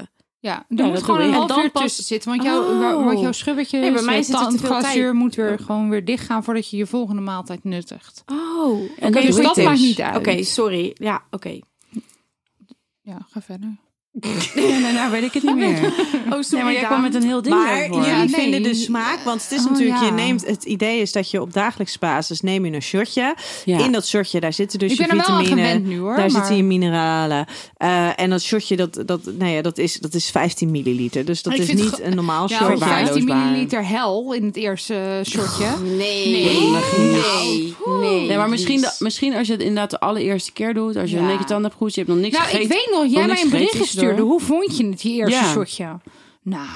Ja, er
Ja,
moet
dat
gewoon
doe
een
ik.
En
half
dan
uur
pas-
tussen zitten. Want, jouw
Oh.
wa- want jouw schubbetje,
Nee, bij mij
je
zit er te veel
tandglasje
tijd.
moet weer gewoon weer dicht gaan voordat je je volgende maaltijd nuttigt.
Oh, oké.
dat
dus
doe ik
dat
dus.
maakt niet uit.
Oké, sorry. Ja, oké.
Ja, ga <laughs> verder.
En
nou
daarna weet ik het niet meer.
Oh,
Nee, maar jij kwam met een heel ding
Maar
daarvoor.
jullie
Ja, nee.
vinden de smaak, want het is
Oh,
natuurlijk,
ja.
je neemt, het idee is dat je op dagelijks basis neem je een shotje.
Ja.
In dat shotje, daar zitten dus
ik ben
je
er wel aan
vitamine,
gewend nu hoor.
daar
maar...
zitten je mineralen. Eh, en dat shotje, dat, dat, nou ja, dat, is, dat is 15 milliliter. Dus dat
Ah, Ik
is
vind het
niet
ge-
een normaal
ja,
shotje.
of 15
Verwaarloosbaar.
milliliter hel in het eerste eh, shotje.
Nee.
Nee.
Nee. Nee.
Nee, maar misschien,
Jeez.
de- misschien als je het inderdaad de allereerste keer doet. Als je
Ja.
net je tanden hebt goed, je hebt nog niks
Nou,
gegeten.
ik weet nog, jij
nog niks
mij een berichtje
gegeten tussendoor.
stuurde. Hoe vond je het, die eerste
Ja.
shotje? Nou,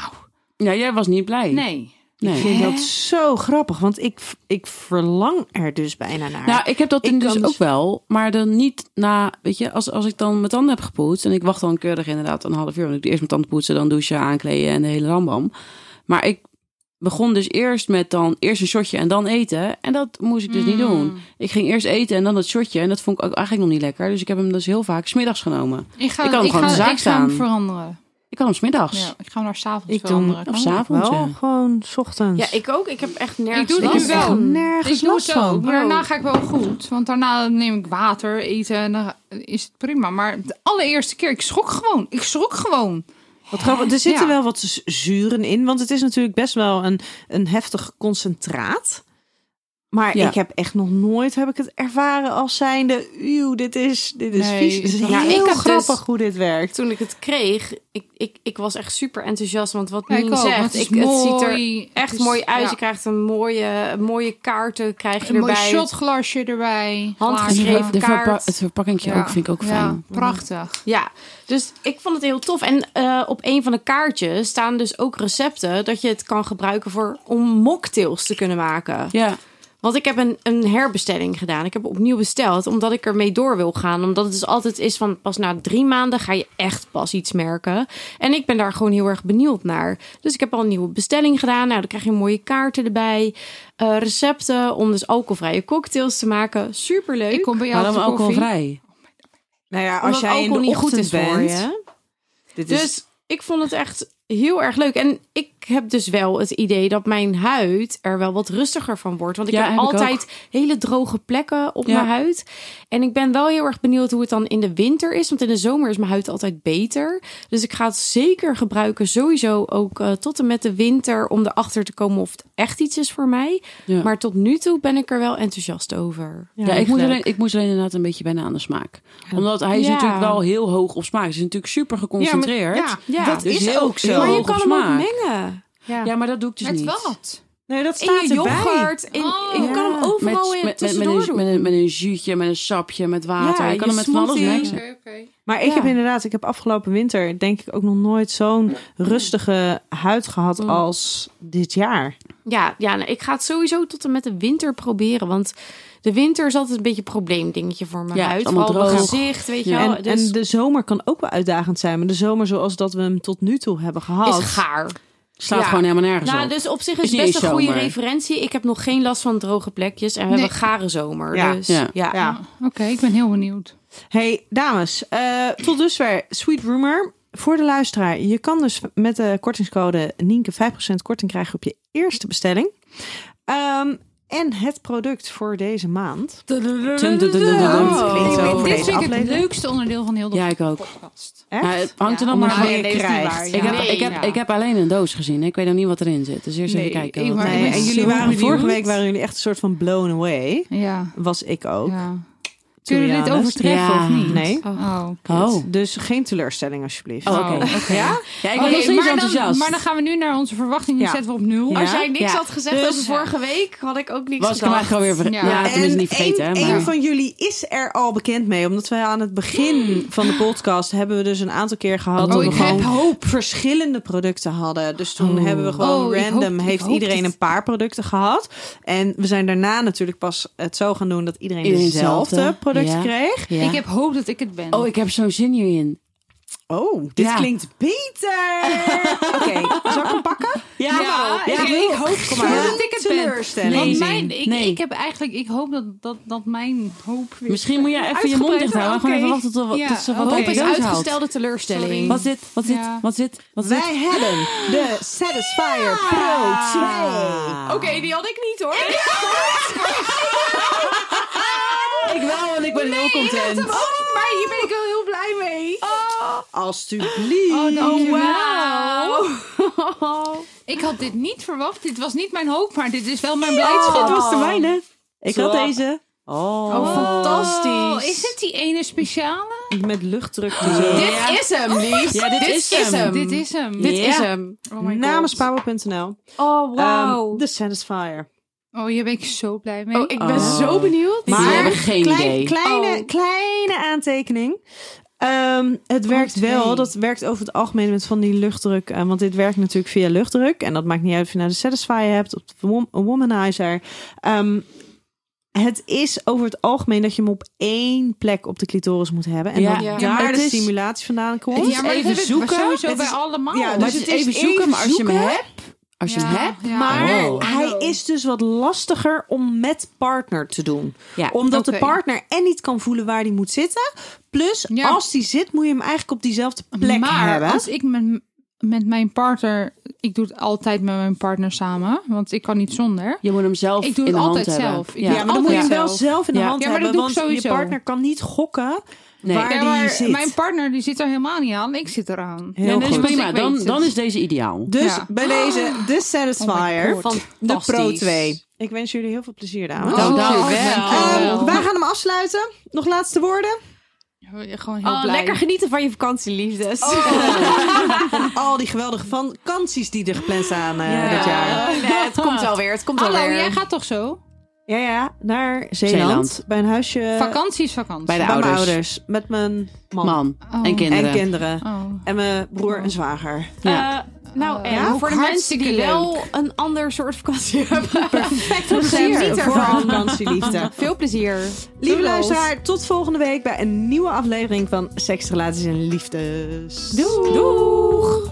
Ja, jij was niet blij.
nee.
Nee.
Ik vind dat zo grappig, want ik, ik verlang er dus bijna naar.
Nou, ik heb dat
Ik
in dus
kan-
ook wel. Maar dan niet na, weet je, als, als ik dan mijn tanden heb gepoetst. En ik wacht dan keurig inderdaad een half uur. Want ik doe eerst mijn tanden poetsen, dan douchen, aankleden en de hele rambam. Maar ik begon dus eerst met dan eerst een shotje en dan eten. En dat moest ik dus niet doen. Ik ging eerst eten en dan dat shotje. En dat vond ik ook eigenlijk nog niet lekker. Dus ik heb hem dus heel vaak smiddags genomen.
Ik ga,
Ik kan hem gewoon
ga,
de zaak
ik ga hem
staan.
veranderen.
Ik had hem smiddags.
Ja,
middags.
ik ga hem naar 's avonds
Ik doe-
veranderen.
Of
Kan dat?
s'avonds.
wel
ja.
gewoon 's ochtends.
Ja, ik ook. Ik heb echt nergens
Ik doe het
last
nu wel.
van.
Ik
nergens
doe het
last
zo.
van.
Oh.
Maar daarna ga ik wel goed. Want daarna neem ik water, eten en dan is het prima. Maar de allereerste keer, ik schrok gewoon. Ik schrok gewoon.
Wat grappig, er zitten
Ja.
wel wat z- zuren in, want het is natuurlijk best wel een, een heftig concentraat. Maar
Ja.
ik heb echt nog nooit heb ik het ervaren als zijnde, uw, dit is, dit is
Nee,
vies. Het is
ja,
heel
ik heb dus-
grappig hoe dit werkt.
Toen ik het kreeg, ik, ik, ik was echt super enthousiast. Want wat
Ja,
Nien
ik ook, want
zegt,
het is
ik, het ziet er
mooi.
echt
Het is-
mooi uit.
ja.
Je krijgt een mooie, mooie kaarten krijg je
Een mooi
erbij.
shotglasje erbij.
Handgeschreven
glaasje.
De verpa-
kaart.
het verpakkingje ook vind ik ook
Ja,
fijn.
prachtig.
Ja, dus ik vond het heel tof. En eh, op een van de kaartjes staan dus ook recepten dat je het kan gebruiken voor om mocktails te kunnen maken.
Ja,
Want ik heb een, een herbestelling gedaan. Ik heb opnieuw besteld, omdat ik ermee door wil gaan. Omdat het dus altijd is van pas na drie maanden ga je echt pas iets merken. En ik ben daar gewoon heel erg benieuwd naar. Dus ik heb al een nieuwe bestelling gedaan. Nou, dan krijg je mooie kaarten erbij. eh, recepten om dus alcoholvrije cocktails te maken. Superleuk.
Ik kom bij jou op
waarom
de koffie.
alcoholvrij?
Nou ja,
Omdat
als jij in
alcohol
de
niet goed is
ochtend
voor
bent,
je.
dit is
Dus ik vond het echt heel erg leuk. En ik heb dus wel het idee dat mijn huid er wel wat rustiger van wordt. Want ik
Ja,
heb
heb ik
altijd hele droge plekken op
Ja.
mijn huid. En ik ben wel heel erg benieuwd hoe het dan in de winter is. Want in de zomer is mijn huid altijd beter. Dus ik ga het zeker gebruiken. Sowieso ook eh, tot en met de winter. Om erachter te komen of het echt iets is voor mij.
Ja.
Maar tot nu toe ben ik er wel enthousiast over.
Ja, ik, moet
leuk.
alleen, ik moest alleen inderdaad een beetje wennen aan de smaak. Omdat hij is
Ja.
natuurlijk wel heel hoog op smaak. Hij is natuurlijk super geconcentreerd.
Ja,
Ja.
dat
Dus
is
heel-
ook zo.
heel
maar je
hoog
kan
op
hem ook
smaak.
mengen.
ja.
Ja, maar dat doe ik dus
Met
niet.
wat?
Nee, dat
In
staat
je
erbij.
yoghurt. In,
Oh.
je kan hem
Ja.
Met,
overal in
met, met, met,
tussendoor
een,
doen.
met, een, met een zuurtje, met een sapje, met water.
Ja,
je kan
je
hem met van alles
smoothie.
mengen.
Maar ik
Ja.
heb inderdaad, ik heb afgelopen winter denk ik ook nog nooit zo'n rustige huid gehad als dit jaar.
Ja, ja nou, ik ga het sowieso tot en met de winter proberen. Want de winter is altijd een beetje een probleemdingetje voor mijn
Ja, het
huid.
is allemaal
Vooral mijn
droog.
gezicht, weet je
Ja.
wel.
en,
dus
en de zomer kan ook wel uitdagend zijn. Maar de zomer zoals dat we hem tot nu toe hebben gehad.
is gaar.
Slaat
Ja.
gewoon helemaal nergens
Nou,
op.
dus op zich
Is
is
niet
best een
eens
goede
zomer.
referentie. Ik heb nog geen last van droge plekjes. En we
Nee.
hebben gare zomer.
Ja.
Dus
Ja.
ja.
Ja.
Oké, ik ben heel benieuwd.
Hey dames, eh, tot dusver Sweet Rumor. Voor de luisteraar, je kan dus met de kortingscode Nienke 5% korting krijgen op je eerste bestelling. Ehm, en het product voor deze maand.
Dun, dun, dun, dun, dun.
Oh.
Het klinkt
zo
Dit-
voor
dit
deze
vind ik het
aflevering.
leukste onderdeel van heel de
Ja, ik ook.
podcast.
Echt?
Maar Nou, het hangt er dan
Ja,
maar
maar
van.
nee,
Ik
deze is niet
krijgt.
waar, ja.
heb,
Nee,
ik, heb,
ja.
ik heb alleen een doos gezien. Ik weet nog niet wat erin zit. Dus eerst
Nee,
even kijken.
ik
wat-
maar-
Nee,
ik ben
en
zo
jullie waren,
benieuwd.
vorige week waren jullie echt een soort van blown away.
Ja.
Was ik ook.
ja.
to be
Kunnen we dit
honest.
overtreffen
Ja.
of niet?
Nee.
Oh.
Oh,
Dus geen teleurstelling alsjeblieft.
Oh, oké.
Oh,
Ja? ja,
Oké,
ik was nog steeds
maar,
enthousiast.
Dan, maar dan gaan we nu naar onze verwachtingen. Die
Ja.
zetten we op nul.
Ja.
Als jij niks
Ja.
had gezegd
Dus,
over
ja.
vorige week, had ik ook niks
was ik hem
gezegd.
eigenlijk alweer vergeten.
Ja.
Ja, Ah, tenminste niet vergeten.
Een,
hè, maar-
een van jullie is er al bekend mee. Omdat wij aan het begin van de podcast hebben we dus een aantal keer gehad.
Oh,
dat
ik
we gewoon
heb
hoop. verschillende producten hadden. Dus toen
Oh.
hebben we gewoon
Oh, ik
random,
hoop- ik
heeft
hoop
iedereen
dat-
een paar producten gehad. En we zijn daarna natuurlijk pas het zo gaan doen dat iedereen,
Iedereen
dezelfde
hetzelfde.
product
Ja.
kreeg.
Ja.
Ik heb hoop dat ik het ben.
Oh, ik heb zo'n zin hierin.
Oh, dit
Ja.
klinkt beter. <laughs> Oké, zal ik hem pakken?
Ja,
ik,
ik
ik hoop
Kom
zo
maar.
dat ik het ben.
Teleurstelling.
Want
Nee.
mijn, ik,
Nee.
ik heb eigenlijk, ik hoop dat, dat, dat mijn hoop weer...
Misschien moet jij even je mond
Uitgebreid,
dicht houden. Gewoon
oké.
even wachten tot,
Ja,
tot ze wat
oké.
uit
Hoop
de
is
doos haalt.
uitgestelde teleurstelling.
Wat zit, wat zit,
Ja.
wat zit, wat zit?
Wij hebben de Satisfyer Pro 2.
Oké, die had ik niet hoor.
Ik wel, want ik ben heel content.
Maar hier ben ik wel heel blij mee.
Alsjeblieft.
Oh, <laughs> Ik had dit niet verwacht. Dit was niet mijn hoop, maar dit is wel mijn blijdschap.
was de mijne.
Ik
Zo.
had deze. Oh.
Oh,
Fantastisch.
is het die ene speciale?
Met luchtdruk.
Ja.
Dit is hem, lief.
Ja, dit is hem.
Dit is hem.
Dit
Ja.
is hem.
Oh my God.
Namens Pabo.nl.
Oh,
Ehm, de Satisfier.
Oh, hier ben ik zo blij mee.
oh, ik ben
Oh.
zo benieuwd.
Maar- hebben geen
klein-
idee.
Kleine,
Oh.
kleine aantekening. Ehm, het werkt
twee.
wel. Dat werkt over het algemeen met van die luchtdruk. eh, want dit werkt natuurlijk via luchtdruk. En dat maakt niet uit of je nou de Satisfier hebt of de wom- een Womanizer. Ehm, het is over het algemeen dat je hem op één plek op de clitoris moet hebben. En
Ja.
dat
Ja.
daar
Maar
de
het is-
stimulatie vandaan komt.
het is
ja, maar
even
dat heb ik
zoeken.
sowieso
Het
bij
is-
allemaal.
ja,
Maar
dus
het is
het is
even zoeken, maar als je hem
zoeken.
hebt... Als je
Ja,
hem hebt...
ja. Oh.
Maar
Wow.
hij is dus wat lastiger om met partner te doen.
Ja.
Omdat
Oké.
de partner en niet kan voelen waar hij moet zitten. Plus,
Ja.
als die zit, moet je hem eigenlijk op diezelfde plek
maar
hebben.
als ik met, met mijn partner... Ik doe het altijd met mijn partner samen. Want ik kan niet zonder.
Je moet hem zelf
Ik doe
in
het
de hand
altijd
hebben.
zelf. Ik
Ja.
doe
ja, maar dan moet je hem wel zelf in de
Ja.
hand
Ja, maar dat
hebben.
doe ik
want je
sowieso.
partner kan niet gokken
Nee.
waar
Ja,
die
maar
zit.
mijn partner die zit er helemaal niet aan. Ik zit eraan.
Heel
Nee, dat is
goed.
prima.
Want ik weet
Dan,
het.
dan is deze ideaal.
Dus
dus Ja.
bij deze, de Satisfier,
Oh my
God.
de Pro
Fantastisch.
2. Ik wens jullie heel veel plezier, dames.
Oh,
Dank
dank
je
je
Dus wel.
Ehm,
Dankjewel.
wij gaan hem afsluiten. Nog laatste woorden.
Gewoon heel
Oh,
blij.
lekker genieten van je vakantieliefdes.
Al die geweldige vakanties die er gepland staan eh,
Ja.
dit jaar.
<laughs> Nee, het komt wel weer. Het komt wel
Hallo,
weer.
jij gaat toch zo?
Ja, ja, naar Zeeland.
Zeeland.
Bij een huisje
vakantie is vakantie.
Bij de
Eh, bij mijn
ouders.
ouders. Met mijn man,
Man
Oh.
en kinderen.
en kinderen.
Oh.
En mijn broer en zwager.
Ja.
Eh, nou, en
Ja,
voor de
ook
mensen die
hartstikke
wel een ander soort vakantie <laughs> hebben.
Perfect
plezier.
recept voor
Ervan.
vakantieliefde.
Veel plezier.
Lieve
Doedels.
luisteraar, tot volgende week bij een nieuwe aflevering van Seks, Relaties en Liefdes.
Doeg.